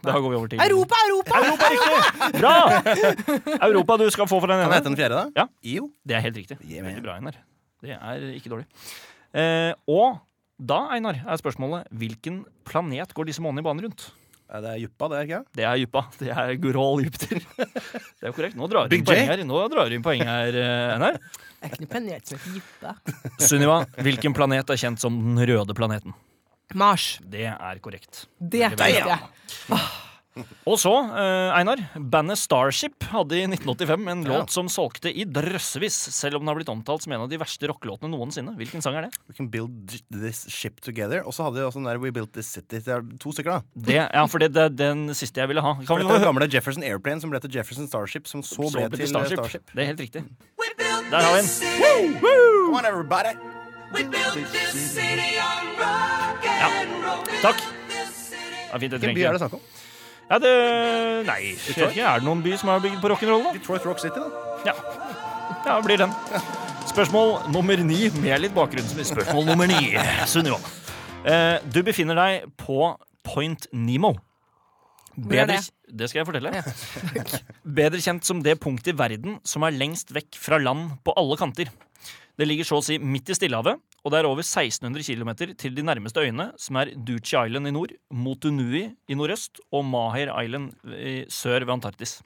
Da går vi over til Europa, Europa! Europa, riktig! Bra! Europa du skal få for den Kan jeg ene. hete den fjerde, da? Ja. IO. Det er helt riktig. Yeah, man. Veldig bra, Einar. Det er ikke dårlig. Eh, og da, Einar, er spørsmålet hvilken planet går disse månedene i bane rundt? Ja, det er Juppa, det er ikke det? Det er Juppa. Det er Gural Jupiter. Det er jo korrekt. Nå drar du Big inn poeng J. her, Nå drar du inn poeng her, eh, Einar. Det er ikke noe planet som heter Jyppe. Sunniva, hvilken planet er kjent som den røde planeten? Mars. Det er korrekt. Det Veldig visste jeg. Og så, eh, Einar, bandet Starship hadde i 1985 en Ja. låt som solgte i drøssevis, selv om den har blitt omtalt som en av de verste rockelåtene noensinne. Hvilken sang er det? We can build this ship together. Og så hadde de også den der We built this city. Det er to stykker, da. det ja, for det det er den siste jeg ville ha. Kan For vi dette er få det gamle Jefferson Airplane som ble til Jefferson Starship, som så Så ble, ble det til eh, Starship. Starship. Det er helt riktig. Der har vi den. Come on, everybody! Takk. Det er fint, Hvilken det by trenger er det ikke. snakk om? Ja, det Nei, jeg vet ikke. Er det noen by som er bygd på rock'n'roll, da? Detroit Rock City, da. Ja. ja, det blir den. Spørsmål nummer ni med litt bakgrunn. Spørsmål nummer ni, Sunniva. Eh, du befinner deg på Point Nemo. Hvor er Bedre, det skal jeg fortelle. Bedre kjent som det punktet i verden som er lengst vekk fra land på alle kanter. Det ligger så å si midt i Stillehavet, og det er over 1600 km til de nærmeste øyene, som er Duchi Island i nord, Motunui i nordøst og Maher Island i sør ved Antarktis.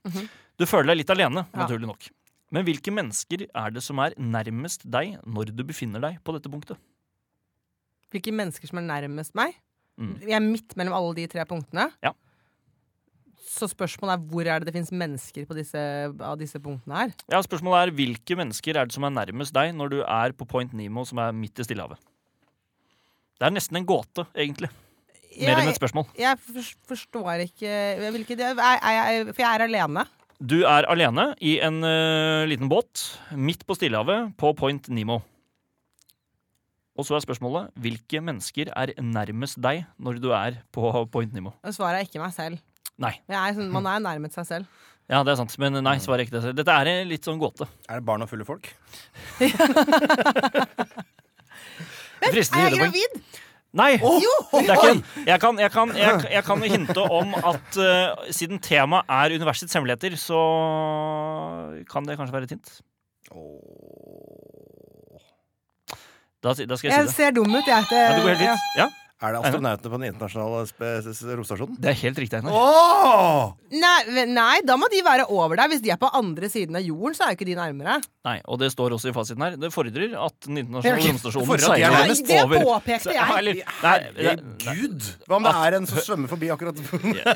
Du føler deg litt alene, Mhm. Ja. naturlig nok. Men hvilke mennesker er det som er nærmest deg når du befinner deg på dette punktet? Hvilke mennesker som er nærmest meg? Mm. Jeg er midt mellom alle de tre punktene. Ja. Så spørsmålet er hvor er det det finnes mennesker på disse, av disse punktene her? Ja, Spørsmålet er hvilke mennesker er det som er nærmest deg når du er på Point Nemo, som er midt i Stillehavet? Det er nesten en gåte, egentlig. Mer enn Jeg, et spørsmål. jeg fors- forstår ikke hvilke det er, er jeg, For jeg er alene. Du er alene i en ø, liten båt midt på Stillehavet på Point Nemo. Og så er spørsmålet hvilke mennesker er nærmest deg når du er på Point Nimo? Og svaret er ikke meg selv. Nei. Men Jeg er sånn, man er nærmet seg selv. Ja, det er sant, men nei, svaret er ikke det. Dette er en litt sånn gåte. Er det barn og fulle folk? Fristende Er jeg gjedepoeng. gravid? Nei! Jo! Det er ikke en. Jeg, kan, jeg, kan, jeg, jeg kan hinte om at eh, siden temaet er universets hemmeligheter, så kan det kanskje være et hint. Da, si- da skal jeg si Jeg det. ser dum ut, jeg. Ja, det går helt Ja. fint. Ja, Er det astronautene på den internasjonale spe- s- s- romstasjonen? det er helt riktig, Einar. Åh! Nei, ve- nei, da må de være over deg. Hvis de er på andre siden av jorden, så er jo ikke de nærmere. Nei, og det står også i fasiten her. Det fordrer at den internasjonale Ja, romstasjonen fordrer at de er seiler Nei, nærmest det over. påpekte Ja, jeg. eller, nei, det, Ah. Herregud! Hva om det er en som svømmer forbi akkurat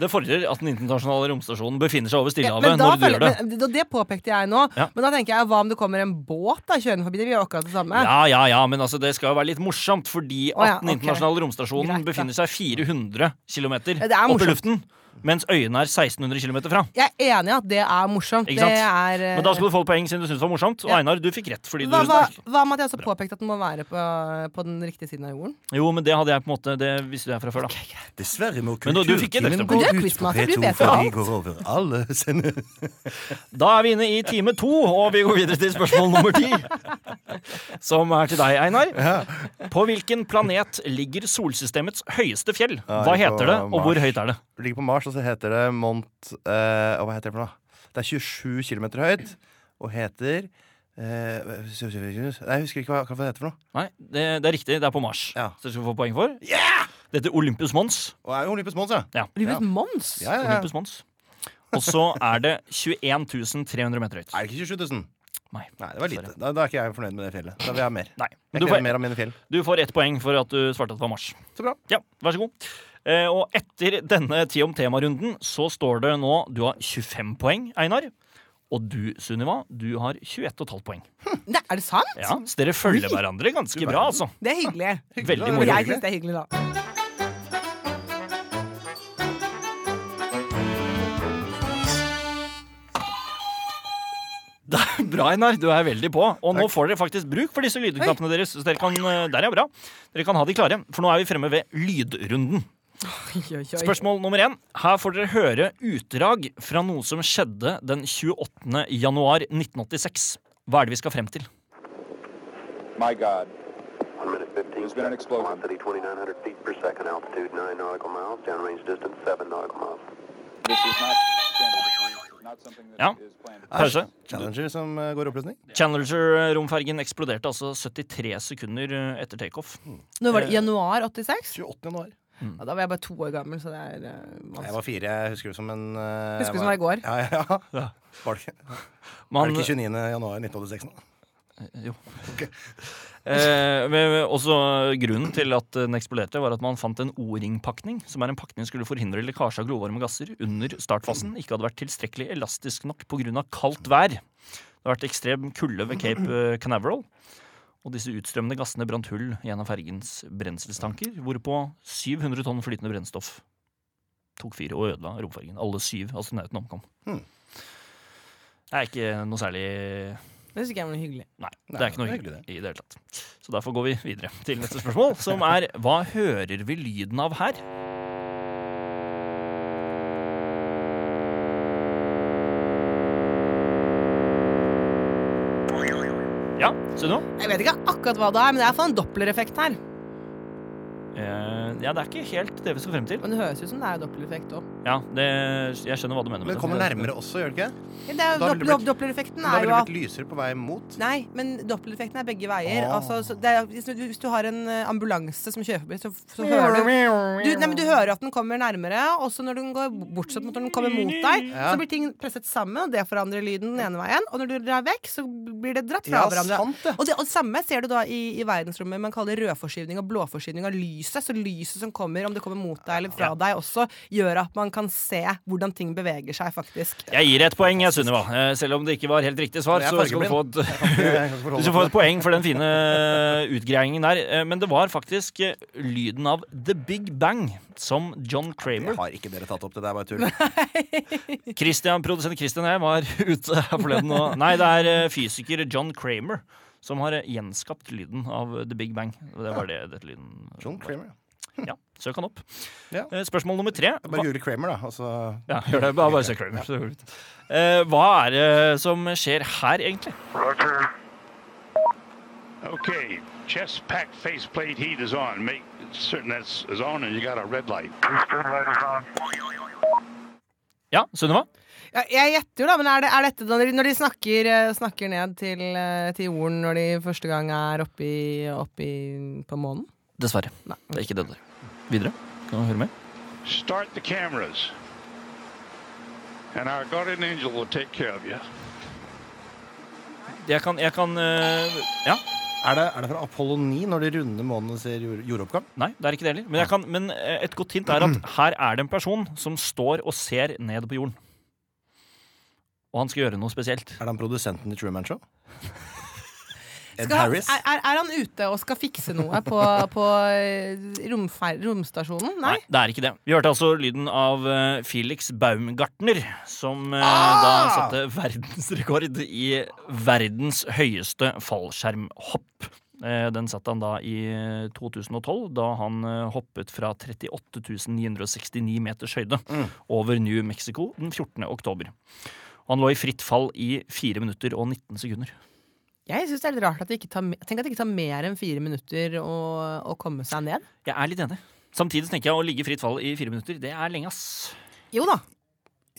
det fordrer at den internasjonale romstasjonen befinner seg over Ja, Stillehavet men da når du føler- gjør det. men, det- det påpekte jeg nå. Ja. Men da tenker jeg, hva om det kommer en båt da kjørende forbi? Det blir jo akkurat det samme. Ja, ja, ja, men altså, det skal jo være litt morsomt, fordi Å ja, at den ok. internasjonale romstasjonen Greit, da. befinner seg 400 km det opp er i morsomt. luften, mens øyene er 1600 km fra. Jeg er enig i at det er morsomt. Ikke Det sant? er eh, Men da skulle du få et poeng siden du syntes det var morsomt. Og Ja. Einar, du fikk rett. fordi du hva, hva, hva med at jeg også påpekte at den må være på, på den riktige siden av jorden? Jo, men det hadde jeg på en måte Det visste jeg fra før, da. Dessverre må Men nå, du fikk et kulturtimen gå ekstra poeng. Du er ut på quizmaster, du P2, vet jo for de alt. går over alle sender. Da er vi inne i time to, og vi går videre til spørsmål nummer ti. Som er til deg, Einar. På hvilken planet ligger solsystemets høyeste fjell? Ja, Hva det er på heter det, og hvor Mars. høyt er det? Du ligger på Mars, og så heter det Mont... eh, hva heter det for noe? Det er 27 km høyt og heter eh, Nei, Jeg husker ikke hva, hva det heter for noe. Nei, det, det er riktig. Det er på Mars. Ja. Så det skal du få poeng for. Det heter Olympus Mons. Og er jo Olympus Mons, ja. Ja. Livet Mons! Ja, ja, ja. Olympus Mons. Og så er det 21 300 meter høyt. Er det ikke 27 000? Nei. Nei, det var lite. Sorry. Da, da er ikke jeg fornøyd med det fjellet. Da vil jeg ha mer. Nei. Men Jeg Du krever får, mer av mine fjell. du får ett poeng for at du svarte at det var Mars. Så bra. Ja, vær så god. Eh, og etter denne Ti om tema-runden så står det nå du har 25 poeng, Einar. Og du, Sunniva, du har 21,5 poeng. Nei, er det sant? Ja, Så dere følger hverandre Du ganske bra, altså. Det er hyggelig. Hyggelig, Veldig da. moro. Jeg syns det er hyggelig, da. Det er bra, Einar. Du er veldig på. Og nå får dere faktisk bruk for disse lydknappene deres. Så dere kan, eh, der er bra. Dere kan ha de klare. For nå er vi fremme ved lydrunden. Oi, oi, oi. Spørsmål nummer én. Her får dere høre utdrag fra noe som skjedde den 28. januar 1986. Hva er det vi skal frem til? My God. One minute 15 There's been an seconds. explosion. Velocity 2,900 feet per second. Altitude 9 nautical miles. Downrange distance 7 nautical miles. This is not standard. Not something that Ja. is planned. Pause. Challenger som eh, går i oppløsning. Challenger-romfergen eksploderte altså 73 sekunder eh, etter takeoff. Nå var det januar 86. 28. januar. Ja, da var jeg bare to år gammel, så det er eh, Jeg vanskelig. var fire. Jeg husker det som en eh, Husker det jeg som var i går. Ja, ja, ja. Var det ikke- var Man- det ikke 29. januar 1986 nå? Jo. Eh, men- men også grunnen til at den eksploderte, var at man fant en O-ringpakning, som er en pakning som skulle forhindre lekkasje av glovarme gasser under startfasen, ikke hadde vært tilstrekkelig elastisk nok pga. kaldt vær. Det har vært ekstrem kulde ved Cape eh, Canaveral. Og disse utstrømmende gassene brant hull i en av fergens brenselstanker, hvorpå 700 tonn flytende brennstoff tok fyr og ødela romfergen. Alle syv astronautene omkom. Hmm. Det er ikke noe særlig Det syns ikke jeg var noe hyggelig. Nei, Nei, det er ikke noe det er hyggelig i det hele tatt. Så derfor går vi videre til neste spørsmål, som er hva hører vi lyden av her? Ja, ser du nå? Jeg vet ikke akkurat hva det er, men det er iallfall en dopplereffekt her. Eh, ja, det er ikke helt det vi skal frem til. Men det høres ut som det er dopplereffekt òg. Ja, det, jeg skjønner hva du mener Men med det kommer nærmere også, gjør det ikke? Ja, det er Da ville det jo doppler- blitt- Dopplereffekten Da er ville jo det at blitt lysere på vei mot. Nei, men dopplereffekten er begge veier. Ah. Altså, så det er, hvis, du, hvis du har en eh, ambulanse som kjører forbi, så, så hører du du, nei, men du hører at den kommer nærmere, også når den går bort, sånn at når den kommer mot deg, Ja. så blir ting presset sammen, og det forandrer lyden den ene veien. Og når du drar vekk, så blir det dratt fra Ja, hverandre. sant det. Og det, og det samme ser du da i, i verdensrommet man kaller rødforskyvning og blåforskyvning av lyset. Så lyset som kommer, om det kommer mot deg eller fra deg også, gjør at man kan se hvordan ting beveger seg, faktisk. Jeg gir deg et poeng, jeg, Sunniva. Eh, Selv om det ikke var helt riktig svar, Jeg er så skal du få et Jeg kan ikke Du forholde skal få meg et poeng for den fine utgreiingen der. Eh, Men det var faktisk eh, lyden av The Big Bang som til John det. Kramer Har ikke dere tatt opp det der, bare tull? Christian, Produsent Christian og jeg var ute her forleden og Nei, det er eh, fysiker John Kramer som har eh, gjenskapt lyden av The Big Bang. Og Det var det dette lyden John Kramer, ja. Ja, søk han opp. Ja. Eh, Spørsmål nummer tre. Bare google Kramer, da. Altså, Og så Ja, gjør det. Bare, bare søk Kramer. så går det ut. Eh, Hva er det som skjer her, egentlig? Roger. Okay, chest pack faceplate heat is on. Make certain that's is on, and you got a red light. Eastern light is on. Ja, Sunniva? Ja, jeg gjetter jo, da, men er, det, er dette da når de- når de snakker, eh, snakker ned til, eh, til jorden når de første gang er oppe i- oppe i- på månen? Dessverre. Nei. Det er ikke det der. Videre. Kan du høre mer? Start the cameras, and our guardian angel will take care of you. Jeg kan, jeg kan eh, Ja. er, det, er det fra Apollo 9 når de runde månedene ser jord, jordoppgang? Nei, det er ikke det heller. Men, jeg kan, men eh, et godt hint er at her er det en person som står og ser ned på jorden. Og han skal gjøre noe spesielt. Er det han produsenten i Truman Show? Ed Skal, Harris? er, er, er han ute og skal fikse noe på, på eh, romfer, romstasjonen? Nei? Nei, det er ikke det. Vi hørte altså lyden av eh, Felix Baumgartner, som eh, da Ah! satte verdensrekord i verdens høyeste fallskjermhopp. Eh, Den satte han da i eh, 2012, da han eh, hoppet fra 38 969 meters høyde over New Mexico den 14. oktober. Og Han lå i fritt fall i 4 minutter og 19 sekunder. Jeg syns det er litt rart at det ikke tar, me- tenk at det ikke tar mer enn fire minutter å, å komme seg ned. Jeg er litt enig. Samtidig tenker jeg å ligge i fritt fall i fire minutter, det er lenge, ass. Jo da.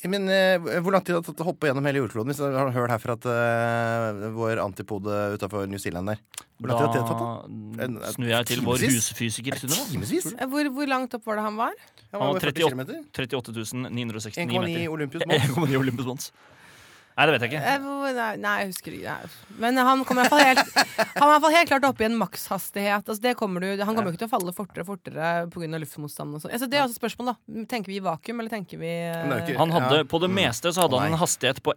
Men eh, hvor lang tid har det tatt å hoppe gjennom hele jordkloden? Hvis du har hørt herfra at eh, vår antipode utafor New Zealand der Hvor lang tid har det tatt, da? En- Da snur jeg til vår timevis? husfysiker. Sunniva. Timevis? Eh, Hvor, hvor langt opp var det han var? Han Han var var over 40 km. 38 38.969 1,9 meter. Olympus mål. 1,9 Olympus Mons. Nei, det vet jeg ikke. Eh, hvor- Nei, nei, jeg husker ikke. Nei. Men han kom i hvert fall helt, han var i hvert fall helt klart opp i en makshastighet. Altså, det kommer du, han kommer jo ikke til å falle fortere og fortere pga. luftmotstanden. Og sånn. altså, det er også et spørsmål, da. Tenker vi i vakuum, eller tenker vi eh, Men det er jo ikke- Han hadde, Ja. På det meste så Å, hadde han Mm. nei. en hastighet på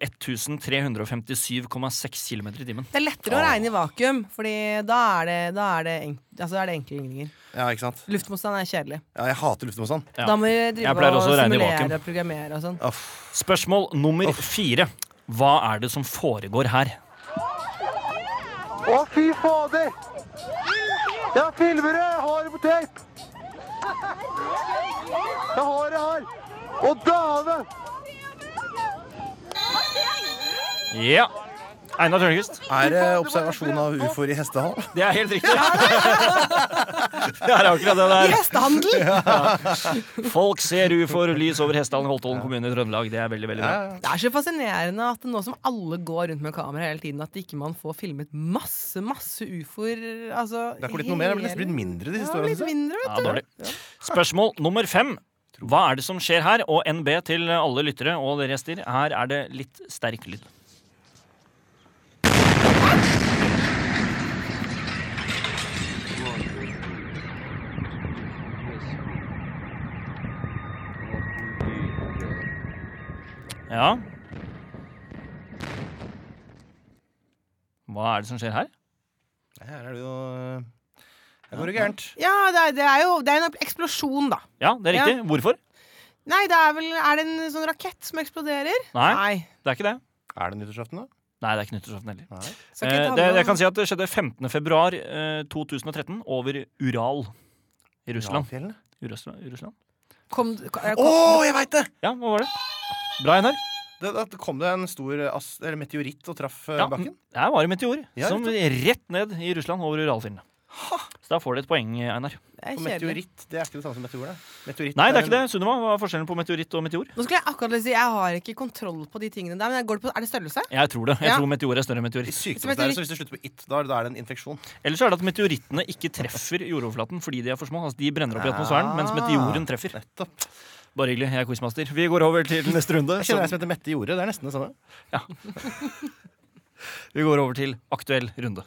1357,6 km i timen. Det er lettere å regne i vakuum, Fordi da er det, da er det, enk, altså, da er det enkle ynglinger. Ja, ikke sant? Luftmotstand er kjedelig. Ja, jeg hater luftmotstand. Ja. Da må vi Jeg drive pleier og også å regne i vakuum. simulere og programmere og sånn. Spørsmål nummer fire. Hva er det som foregår her? Å, fy fader! Jeg filmer det! Jeg har det på tape! Jeg har det her! Å, dæven! Ja. Einar Tørnquist. Er det observasjon av ufoer i hestehall? Det er helt riktig. Det er akkurat det der. Hestehandel! Folk ser ufoer lys over Hestehallen Holtålen kommune i Trøndelag. Det er veldig, veldig bra. Det er så fascinerende at nå som alle går rundt med kamera hele tiden, at ikke man får filmet masse, masse ufoer. Altså, Det er ikke blitt noe mer, det er nesten blitt mindre de Ja, siste årene. litt synes jeg. mindre, vet Ja, dårlig. Spørsmål nummer fem. Hva er det som skjer her? Og NB til alle lyttere og dere gjester, her er det litt sterk lyd. Ja Hva er det som skjer her? Her er det jo eh, Her går det gærent. du. Ja, det er, det er jo det er en eksplosjon, da. Ja, det er riktig. Hvorfor? Nei, det er vel Er det en sånn rakett som eksploderer? Nei, det er ikke det. Er det nyttårsaften, da? Nei, det er ikke nyttårsaften heller. Nei. Skal ikke Eh, ta det, med jeg noe- kan si at det skjedde 15. februar eh, 2013 over Ural i Russland. Lavfjellene? I Russland. I Russland. kom, kom, Å, kom, jeg veit det! Ja, hva var det? Bra, Einar. det! Da kom det en stor ast, eller meteoritt og traff eh, Ja, bakken. Der var det meteor Ja, som rett ned i Russland over Uralfjellene. Så da får du et poeng, Einar. det Og er kjedelig. meteoritt det er ikke det samme som meteor, det. Meteoritt eh, Nei, det er en- ikke det. Sunniva, hva er forskjellen på meteoritt og meteor? Nå skulle jeg akkurat si Jeg har ikke kontroll på de tingene der, men jeg går det på, er det størrelse? Jeg tror det. Jeg Ja. tror meteor er større enn I meteoritt. sykdomslære, så hvis det slutter på it, da, er- da er det en infeksjon. Ellers så er det at meteorittene ikke treffer jordoverflaten fordi de er for små. Altså, de brenner opp i atmosfæren, mens meteoren treffer. Ah, Nettopp. Bare hyggelig. Jeg er quizmaster. Vi går over til neste runde. Jeg kjenner ei som heter Mette Jorde. Det er nesten det samme. Vi går over til aktuell runde.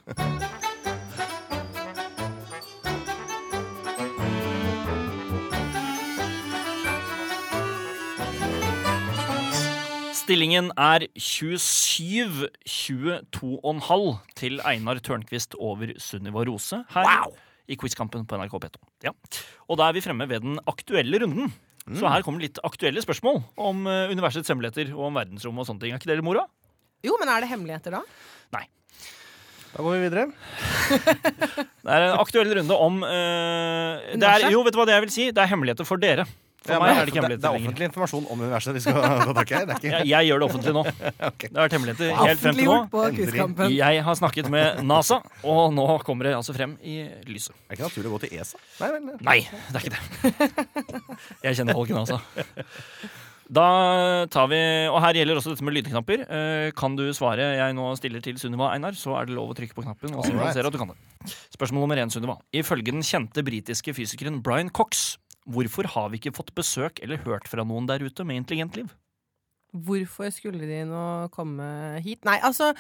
Stillingen er 27-22,5 til Einar Tørnquist over Sunniva Rose her i Quizkampen på NRK P2. Ja. Og da er vi fremme ved den aktuelle runden. Så her kommer litt aktuelle spørsmål om eh, universets hemmeligheter og om verdensrommet og sånne ting. Er ikke det litt moro? Jo, men er det hemmeligheter da? Da går vi videre. Det er en aktuell runde om eh, det er, Universet? Jo, vet du hva det jeg vil si? Det er hemmeligheter for dere. For Ja, men meg er det ikke det, det hemmeligheter er lenger. offentlig informasjon om universet vi skal ta tak i. her. Det er ikke Jeg, jeg gjør det offentlig nå. Det har vært hemmeligheter helt frem til nå. Offentliggjort på Endelig. Quizkampen. Jeg har snakket med NASA, og nå kommer det altså frem i lyset. Det er ikke naturlig å gå til ESA. Nei, vel, nei. Nei, det er ikke det. Jeg kjenner folk i NASA. Da tar vi, og Her gjelder også dette med lydknapper. Eh, Kan du svare jeg nå stiller til Sunniva Einar, så er det lov å trykke på knappen. og signalisere at du kan det. Spørsmål nummer én, Sunniva. Ifølge den kjente britiske fysikeren Brian Cox, hvorfor har vi ikke fått besøk eller hørt fra noen der ute med intelligent liv? Hvorfor skulle de nå komme hit? Nei, altså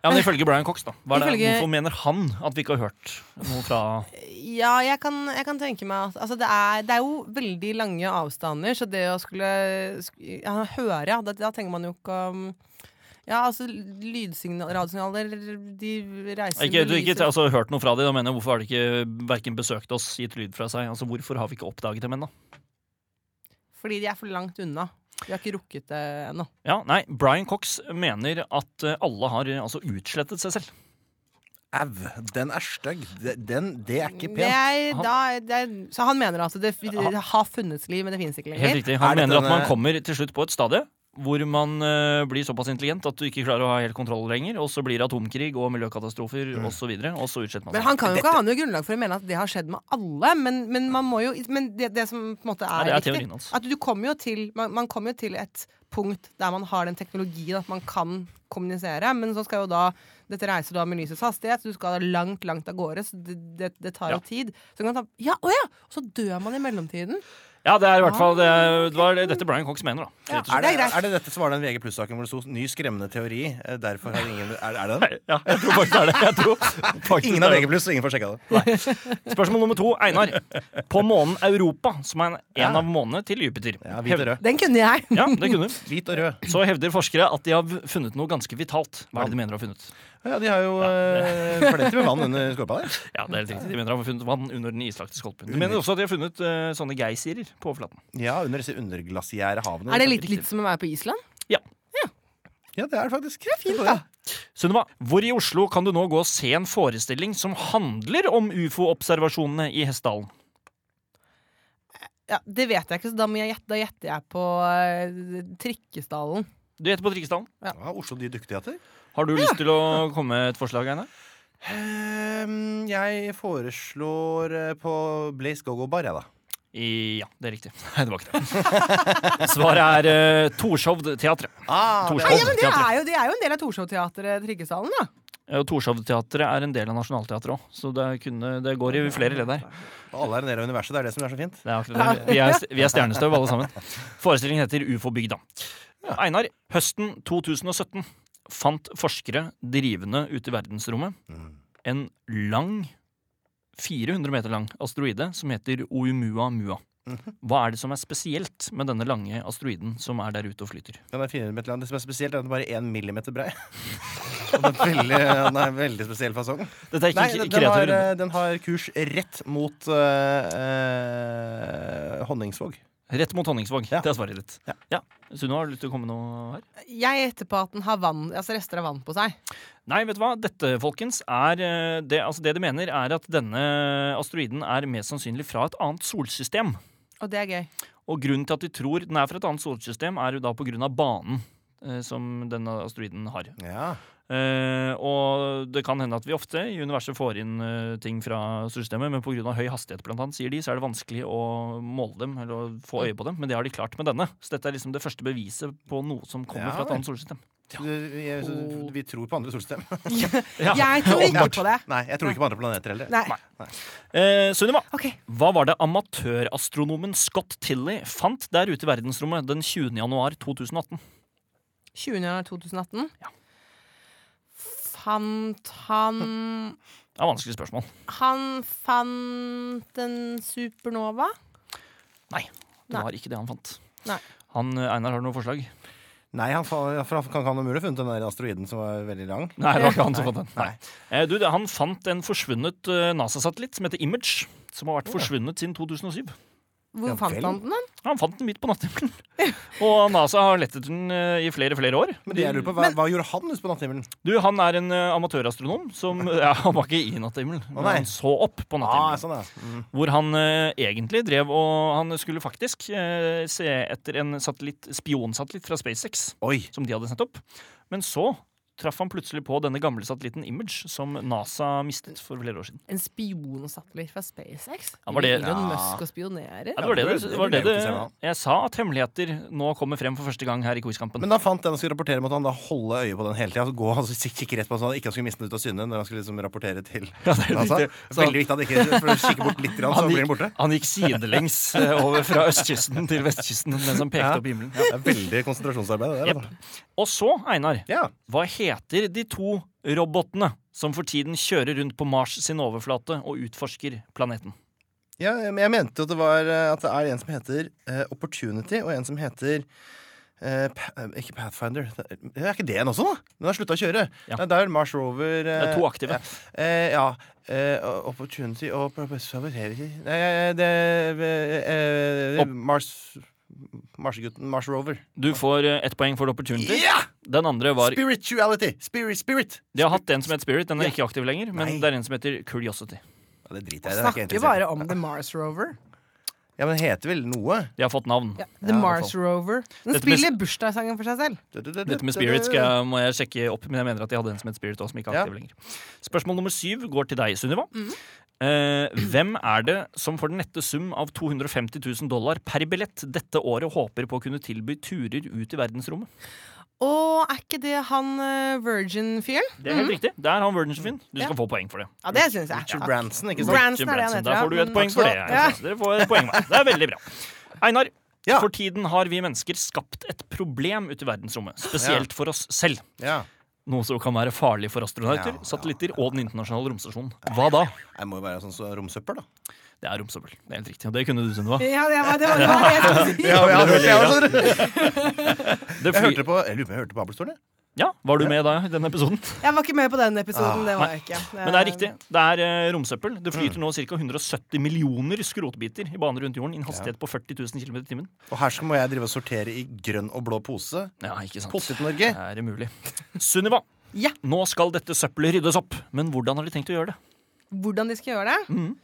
Ja, men Ifølge Brian Cox, da. Hva er det, Ifølge- Hvorfor mener han at vi ikke har hørt noe fra Ja, jeg kan, jeg kan tenke meg at altså det, er, det er jo veldig lange avstander, så det å skulle sk- ja, høre ja, da, da tenker man jo ikke om Ja, altså lydsignaler, radiosignaler De reiser Ikke, du, med ikke lyset. altså, hørt noe fra dem, da mener jeg hvorfor har de ikke hverken besøkt oss, gitt lyd fra seg? Altså, Hvorfor har vi ikke oppdaget dem ennå? Fordi de er for langt unna. Vi har ikke rukket det ennå. Ja, nei, Brian Cox mener at eh, alle har eh, altså utslettet seg selv. Au, den er stygg. De- Den, det er ikke Det pent. er, da, det er, så han mener altså det, det har funnets liv, men det finnes ikke Helt lenger. riktig. Er Han det mener at man denne- kommer til slutt på et stadie hvor man eh, blir såpass intelligent at du ikke klarer å ha helt kontroll lenger, og så blir det atomkrig og miljøkatastrofer og så videre, og så utsletter man Men seg. han kan jo ikke ha noe grunnlag for å mene at det har skjedd med alle. Men, men, man må jo, men det, det som på en måte er, Ja, det er riktig, teorien hans. at du kommer jo til man, man kommer jo til et punkt der man har den teknologien at man kan kommunisere, men så skal jo da dette reiser da med lysets hastighet, du skal da langt, langt av gårde, så det, det, det tar Ja. jo tid. Så kan man ta Ja, å ja! Og så dør man i mellomtiden. Ja, det er i hvert fall det, det var det- dette Brian Cox mener, da. Rett og slett. Er det, Det er greit. er det dette som var den VG pluss-saken hvor det sto 'ny skremmende teori'? eh, Derfor har ingen Er, er det den? Ja, jeg tror faktisk det er det. Jeg tror faktisk Ingen har det er VG pluss, ingen får sjekka det. det. Spørsmål nummer to, Einar. På månen Europa, som er en, en av månene til Jupiter. Ja, hvit og rød. Den kunne jeg. Ja, det kunne du. Hvit og rød. Så hevder forskere at de har funnet noe ganske vitalt. Hva er det de mener de har funnet? Ja, de har jo eh, plenty med vann under skorpa der. Ja, det er helt riktig. De mener de har funnet vann under den islagte skorpen. De mener også at de har funnet eh, sånne geysirer på overflaten. Ja, under disse underglasiære havene. Er det litt, litt som å være på Island? Ja, det er det faktisk. Det er fint, da. Sunniva, hvor i Oslo kan du nå gå og se en forestilling som handler om ufo-observasjonene i Hessdalen? Ja, Det vet jeg ikke, så da, må jeg, gjette- da gjetter jeg på eh, Trikkestallen. Du gjetter på Trikkesdalen. Ja, Oslo Nye Dukketeater. Har du lyst til å komme med et forslag, Einar? Ehm, jeg foreslår eh, på Blaze Go-Go Bar, jeg, da. Ja, det er riktig. Nei, det var ikke det. Svaret er uh, Torshov-teatret. Ah, Torshov. Ja, ja, men det er, jo, det er jo en del av Torshov-teatret, Trikkestallen, da. Ja, Eh, og Torshov-teatret er en del av Nationaltheatret òg, så det, kunne, det går i flere ledd her. Alle er en del av universet. Det er det som er så fint. Det er akkurat det. Vi er, vi er stjernestøv, alle sammen. Forestillingen heter Ufo-bygda. Einar, høsten 2017 fant forskere drivende ute i verdensrommet Mm. en lang, 400 meter lang asteroide som heter Oumuamua. Mhm. Hva er det som er spesielt med denne lange asteroiden som er der ute og flyter? Den er 400 meter lang. Det som er spesielt, er at den bare er én millimeter brei. Og den er veldig, den er veldig spesiell fasong. Dette er ikke, Nei, ikke, den, ikke den, kreativ har, runde. eh, den har kurs rett mot eh, eh, Honningsvåg. Rett mot Honningsvåg. Ja. Det er svaret ditt. Ja. Ja. Sunniva, har du lyst til å komme noe her? Jeg gjetter på at den har vann, altså rester av vann på seg. Nei, vet du hva? Dette, folkens, er eh, det, altså det de mener, er at denne asteroiden er mest sannsynlig fra et annet solsystem. Og det er gøy. Og grunnen til at de tror den er fra et annet solsystem, er jo da på grunn av banen eh, som denne asteroiden har. Ja. Eh, og det kan hende at vi ofte i universet får inn eh, ting fra solsystemet, men pga. høy hastighet, blant annet, sier de, så er det vanskelig å måle dem eller å få øye på dem. Men det har de klart med denne. Så dette er liksom det første beviset på noe som kommer Ja, fra et vel. annet solsystem. Du, jeg, så, vi tror på andre solsystem. Ja. Jeg tror ikke på det. Nei, jeg tror ikke på andre planeter heller. Nei. Eh, Sunniva, Ok. hva var det amatørastronomen Scott Tilley fant der ute i verdensrommet den 20. januar 2018? 20. januar 2018. Fant han Det er vanskelig spørsmål. Han fant en supernova? Nei, det Nei. var ikke det han fant. Nei. Han, eh, Einar, har du noe forslag? Nei, han, fa- for han kan ikke ha mulig ha funnet den der asteroiden som var veldig lang. Nei, det var ikke han som fant den. Nei. Eh, du, det- han fant en forsvunnet eh, NASA-satellitt som heter Image, som har vært forsvunnet siden 2007. Hvor Ja fant vel. han den? da? Han fant den midt på natthimmelen. Og NASA har lett etter den eh, i flere, flere år. Men det jeg lurer på, hva, hva gjorde han ute på natthimmelen? Du, han er en eh, amatørastronom som ja, Han var ikke i natthimmelen, men nei. han så opp på Ah, natthimmelen. sånn, ja. Mm. Hvor han eh, egentlig drev og Han skulle faktisk eh, se etter en satellitt, spionsatellitt fra SpaceX, Oi. som de hadde sendt opp. Men så traff han plutselig på denne gamle satellitten Image, som NASA mistet for flere år siden. En spionsatellitt fra SpaceX? Ja, var det- Elon Musk og spionerer? Ja, det var det, det, var det, det Ja. Jeg sa at hemmeligheter nå kommer frem for første gang her i Quizkampen. Men da fant den han skulle rapportere, måtte han da holde øye på den hele tida? Altså, gå altså, kik- kikke rett på den, så han ikke skulle miste den ut av syne når han skulle liksom, rapportere til Ja, det er NASA. riktig. Så han- Veldig viktig at han ikke for å kikke bort litt, grann, så blir den borte. han gikk sidelengs eh, over fra østkysten til vestkysten mens han pekte Ja. opp i himmelen. Det er veldig konsentrasjonsarbeid. Det der, Jepp. altså. Og så, Einar, ja. Hva heter de to robotene som for tiden kjører rundt på Mars sin overflate og utforsker planeten? Ja, men jeg mente jo at det var eh, At det er en som heter eh, Opportunity, og en som heter eh, pa eh, ikke Pathfinder. Det Er det er ikke det en også, da? Den har slutta å kjøre. Ja. Nei, det er vel Mars Rover Det er to aktive. Eh, ja. Eh, opportunity og Opportunity Nei, eh, det eh, eh, Opp- Mars Marsgutten. Mars Rover. Du får eh, ett poeng for opportunity. Ja! Den andre var Spirituality! Spirit, spirit! De har hatt en som het Spirit. Den er ikke aktiv lenger. Men Nei. det er en som heter Curiosity. Ja, det driter jeg i. det er ikke jeg Snakker interessert i. bare om The Mars Rover. Ja, men det heter vel noe? De har fått navn. Ja, The Mars Rover. Den Dette med- spiller bursdagssangen for seg selv. Dette med Spirit skal, jeg- må jeg sjekke opp, men jeg mener at de hadde en som het Spirit også, som ikke er aktiv lenger. Spørsmål nummer syv går til deg, Sunniva. Mhm. Eh, hvem er det som for den nette sum av 250 000 dollar per billett dette året håper på å kunne tilby turer ut i verdensrommet? Og er ikke det han eh, Virgin-fyren? Det er Mhm. helt riktig. Det er han Mm. Verdensen-Finn. Du skal få poeng for det. Ja, det syns jeg. Richard Takk. Branson, ikke sant? Branson er det han heter. Da ja. får du et Mm. poeng for det. Ja. altså. Dere får et poeng hver. Det er veldig bra. Einar, Ja. for tiden har vi mennesker skapt et problem ute i verdensrommet. Spesielt for oss selv. Ja. Noe som kan være farlig for astronauter, Ja, ja. satellitter og den internasjonale romstasjonen. Hva da? Det må jo være sånn så romsøppel, da. Det er romsøppel. Det er helt riktig. Og det kunne du, Sunniva. Ja, det var det, var, det, var, det jeg skulle si. Ja, ja, jeg, jeg, Det fly- hørte på, jeg lurer på om jeg hørte på Abelstolen, jeg. Ja, var du med da i denne episoden? Jeg var ikke med på den episoden. det var jeg ikke. Ah. Men det er riktig. Det er eh, romsøppel. Det Mm. flyter nå ca. 170 millioner skrotbiter i bane rundt jorden i en hastighet på 40 000 km i timen. Og her skal må jeg drive og sortere i grønn og blå pose. Ja, ikke sant. Potet-Norge. Det er umulig. Sunniva, Ja. nå skal dette søppelet ryddes opp. Men hvordan har de tenkt å gjøre det? Hvordan de skal gjøre det? Mm.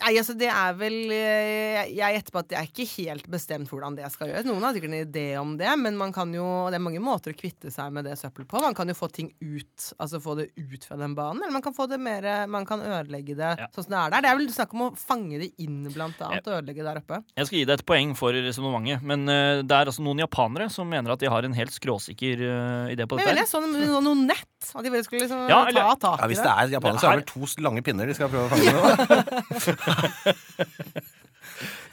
Nei, altså det er vel eh, Jeg gjetter på at det er ikke helt bestemt hvordan det skal gjøres. Noen har sikkert en idé om det, men man kan jo, og det er mange måter å kvitte seg med det søppelet på. Man kan jo få ting ut, altså få det ut fra den banen, eller man kan få det mer Man kan ødelegge det Ja. sånn som det er der. Det er vel snakk om å fange det inn, blant annet, og ødelegge der oppe. Jeg skal gi deg et poeng for resonnementet, men eh, det er altså noen japanere som mener at de har en helt skråsikker eh, idé på dette. Men jeg ville her. jeg så noe, noe nett, at de bare skulle liksom Ja, eller- ta tak Ja, i Hvis det det. er japaner, så er det vel to lange pinner de skal prøve å fange med. da.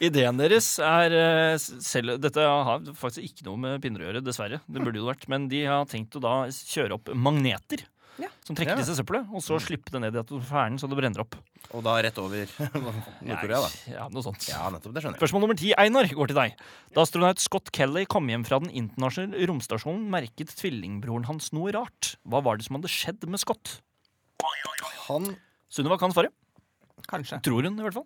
Ideen deres er eh, selv Dette har faktisk ikke noe med pinner å gjøre, dessverre. Det burde jo vært. Men de har tenkt å da kjøre opp magneter. Ja. Som trekker Ja. disse søppelet, og så slippe det ned i atmosfæren så det brenner opp. Og da rett over Nord-Korea, da. Ja, noe sånt. Ja, nettopp. Det skjønner jeg. Spørsmål nummer ti, Einar, går til deg. Da astronaut Scott Kelly kom hjem fra den internasjonale romstasjonen, merket tvillingbroren hans noe rart. Hva var det som hadde skjedd med Scott? Han Sunniva kan svare. Kanskje. Tror hun, i hvert fall.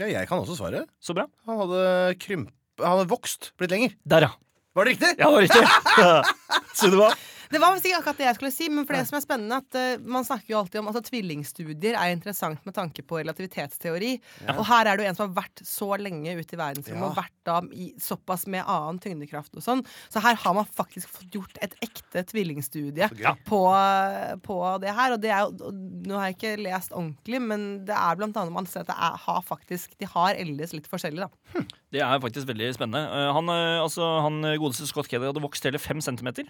Ja, jeg kan også svare. Så bra. Han hadde krymp... Han hadde vokst. Blitt lenger. Der, ja. Var det riktig? Ja, det var riktig. Sunniva. Det var visst ikke akkurat det jeg skulle si, men for det som er spennende at eh, man snakker jo alltid om altså, tvillingstudier er interessant med tanke på relativitetsteori. Og her er det jo en som har vært så lenge ute i verdensrommet Ja. og vært da i, såpass med annen tyngdekraft og sånn. Så her har man faktisk fått gjort et ekte tvillingstudie gøy. på, på det her. Og det er jo og Nå har jeg ikke lest ordentlig, men det er blant annet man ser at det er, har faktisk De har ellers litt forskjellig, da. Det er faktisk veldig spennende. Eh, Han, eh, altså, han godeste Scott Kelly hadde vokst hele fem centimeter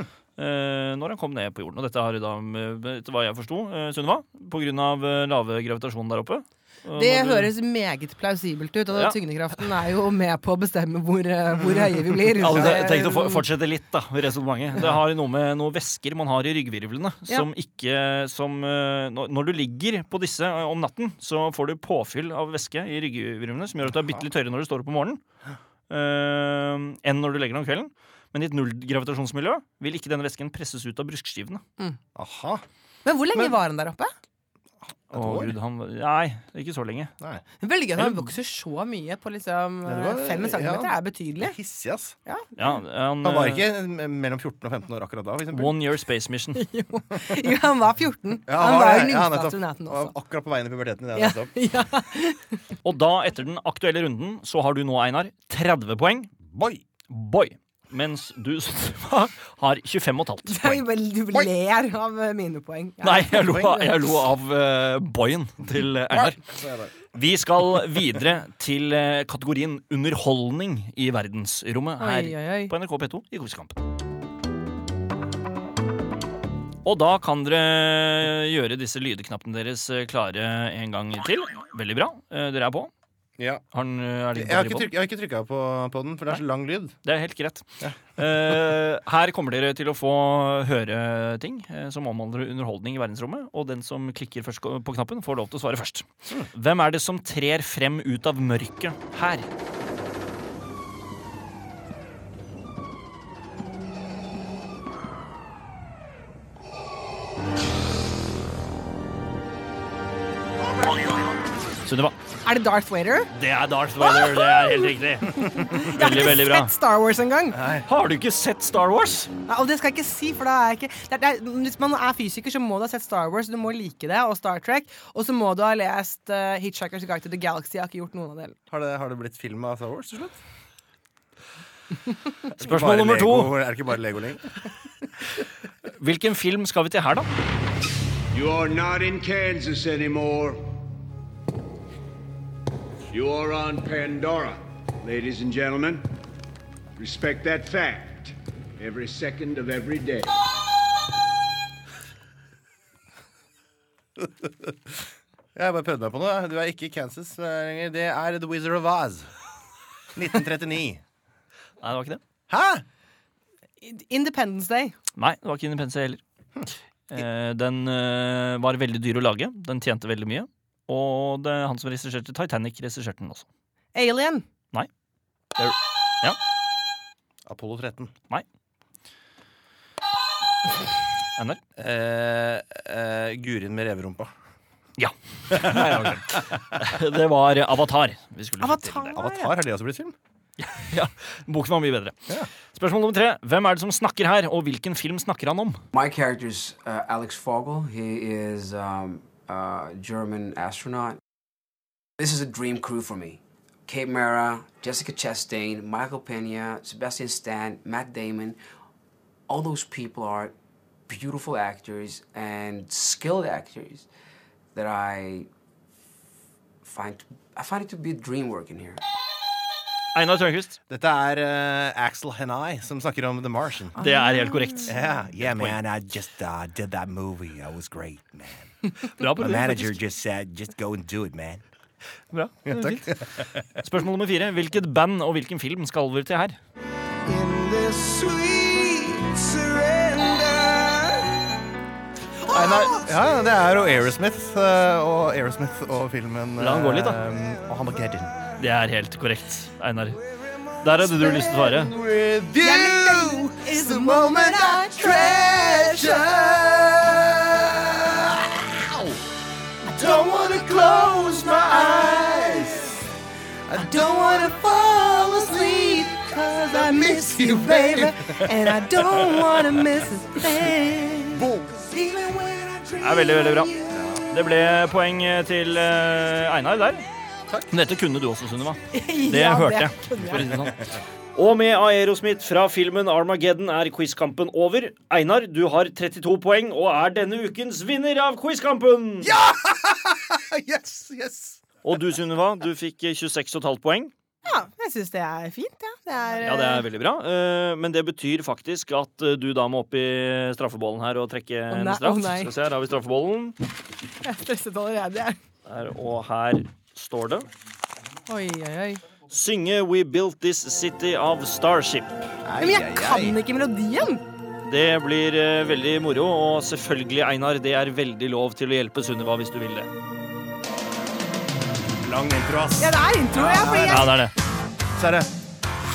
eh, når han kom ned på jorden. Og dette har jo da, eh, etter hva jeg forsto, eh, Sunniva, på grunn av eh, lave gravitasjon der oppe. Og Det når du- høres meget plausibelt ut, og Ja. tyngdekraften er jo med på å bestemme hvor, eh, hvor høye vi blir. Jeg hadde Så- te- tenkt å for- fortsette litt da, med resonnementet. Det har noe med noen væsker man har i ryggvirvlene Ja. som ikke som, eh, når- Når du ligger på disse eh, om natten, så får du påfyll av væske i ryggvirvlene som gjør at du er bitte litt tørre når du står opp om morgenen eh, enn når du legger deg om kvelden. Men i et nullgravitasjonsmiljø vil ikke denne væsken presses ut av bruskskivene. Aha. Men hvor lenge Men- var han der oppe? Å, år? Gud, han, nei, ikke så lenge. Nei. Veldig gøy at han vokser så mye på liksom Det var- eh, fem centimeter. ja. er betydelig. Det er Hissig, ass. Ja, han, Han var eh, ikke mellom 14 og 15 år akkurat da. For eksempel. One year space mission. Jo, han var 14. Ja, han var jo det. Ja, yngste nettopp. Han astronauten var også. Akkurat på veien i puberteten. i det, Ja, nettopp. ja. Og da, etter den aktuelle runden, så har du nå, Einar, 30 poeng. Boy! Boy. Mens du har 25,5 Det er poeng. jo vel- Du ler av eh, mine poeng. Ja. Nei, jeg lo, av- jeg lo av eh, boyen til eh, Einar. Så jeg bare- Vi skal videre til eh, kategorien underholdning i verdensrommet her Oi, oi, oi. på NRK P2 i Kosekampen. Og da kan dere gjøre disse lydknappene deres eh, klare en gang til. Veldig bra. Eh, Dere er på. Ja. Har den, eh, er det Jeg ikke har batteri ikke på den? tryk- jeg har ikke trykka på, på den, for det er så lang lyd. Det er helt greit. Eh, her kommer dere til å få høre ting eh, som omhandler underholdning i verdensrommet, og den som klikker først ko- på knappen, får lov til å svare først. Hvem er det som trer frem ut av mørket her? Sunniva. Er det Darth Vader? Det er Darth Vader, det er helt riktig. Veldig, jeg har veldig ikke bra. sett Star Wars engang. Har du ikke sett Star Wars? Nei, Og det skal jeg ikke si, for da er jeg ikke det er, det er, Hvis man er fysiker, så må du ha sett Star Wars, du må like det, og Star Trek. Og så må du ha lest eh, Hitchhiker's Guide to the Galaxy. Jeg har ikke gjort noen av det. heller. Har det, har det blitt film av Star Wars til slutt? Spørsmål nummer to. Lego, er det ikke bare Lego lenger? Hvilken film skal vi til her, da? You are not in Kansas anymore. You are on Pandora, ladies and gentlemen. Respect that fact every second of every day. Jeg bare prøvde meg på noe. Du er ikke i Kansas eh, lenger. Det er The Wizard of Oz. 1939. Nei, det var ikke det. Hæ?! Independence Day. Nei, det var ikke Independence Day heller. Eh, Den eh, var veldig dyr å lage. Den tjente veldig mye. Og det er han som regisserte Titanic, regisserte den også. Alien. Apollo 13. NR? Eh, eh, Gurin med reverumpa. Ja. Nei, det var ikke det. det var Avatar. Vi skulle frem til Avatar. det. Avatar, har det også blitt film? Ja, Boken var mye bedre. Spørsmål nummer tre. Hvem er det som snakker her, og hvilken film snakker han om? My character's uh, Alex Vogel. He is um, a German astronaut. This is a dream crew for me. Kate Mara, Jessica Chastain, Michael Pena, Sebastian Stan, Matt Damon. All those people are beautiful actors and skilled actors that I find I find it to be a dream working here. Einar Tørnquist. Dette er eh, Axel Henai som snakker om The Martian. Det er helt korrekt. Yeah, yeah, man. I just uh, did that movie. That was great, man. Bra på My det, manager faktisk. just said, just go and do it, man. Bra. Spørsmål nummer fire. Hvilket band og hvilken film skal vi til her? Einar, ja, ja, det er jo Aerosmith eh, og Aerosmith og filmen La han gå litt, da. eh, Armageddon. Det er helt korrekt, Einar. Der hadde du lyst til å svare. With you is the moment I treasure. I don't want to close my eyes. I don't want to fall asleep because I miss you, baby. And I don't wanna miss a thing. Det er veldig, veldig bra. Det ble poeng til eh, Einar der. Men Dette kunne du også, Sunniva. Det Ja, hørte jeg. det kunne for å si det sånn. Og med Aerosmith fra filmen Armageddon er quizkampen over. Einar, du har 32 poeng og er denne ukens vinner av quizkampen. Ah, Yes, yes. Og du, Sunniva, du fikk eh, 26,5 poeng. Ja, jeg syns det er fint, ja. Det er, Ja, det er veldig bra. Eh, Men det betyr faktisk at eh, du da må opp i straffebollen her og trekke Å en nei, straff. å nei. Skal vi se, her har vi straffebollen. Jeg er stresset allerede. jeg. Her, og her står det Oi, oi, oi. Synge We Built This City av Starship. Men jeg kan ikke melodien! Det blir eh, veldig moro, og selvfølgelig, Einar, det er veldig lov til å hjelpe Sunniva hvis du vil det. Lang intro, ass. Ja, det er intro, ja. Fordi jeg, Ja, det er det. Så er det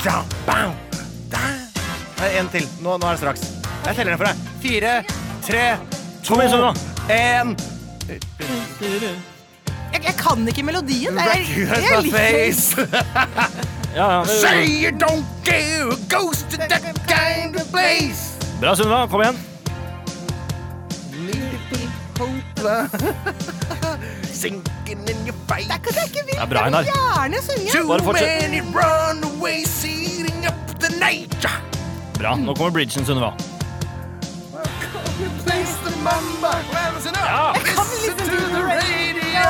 Bam, bam, da. Nei, En til. Nå, nå er det straks. Jeg teller den for deg. Fire, tre, to, Kom igjen, Sunniva. én jeg, jeg kan ikke melodien. Jeg, jeg, Here's jeg my liker face. Ja, ja. Say you don't care. A ghost to that kind of place. Bra, Sunniva. Kom igjen. Sinking in your fight. Ikke at jeg ikke vil, Det er bra, Einar. jeg vil gjerne synge. Too Bare fortsett. many runaways eating up the night. Bra. Nå kommer bridgen, Sunniva. Place the mamba. Listen up. Ja. Listen to the radio.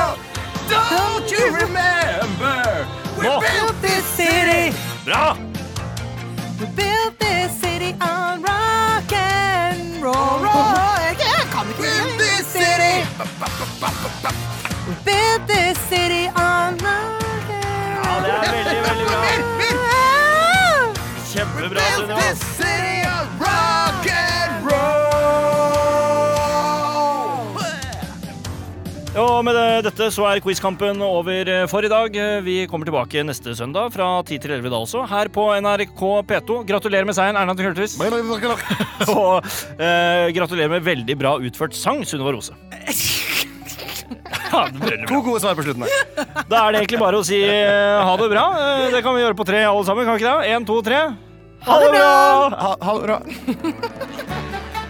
Don't you remember? We Nå. built this city. Bra! We built this city on rock and roll. Jeg, jeg kan ikke Built melodien. this city. We built this city on rock and Ja, det er veldig, veldig bra. roll. Kjempebra, Sunniva. This city of rock and roll. Og med det, dette så er quizkampen over eh, for i dag. Eh, Vi kommer tilbake neste søndag fra 10 til 11 da også, her på NRK P2. Gratulerer med seieren, Erna Køltvis. Og eh, gratulerer med veldig bra utført sang, Sunniva Rose. Ja, det blir bra. To gode svar på slutten her. Da er det egentlig bare å si eh, ha det bra. Eh, Det kan vi gjøre på tre alle sammen, kan vi ikke det? Én, to, tre. Ha det bra! Ha, ha det bra.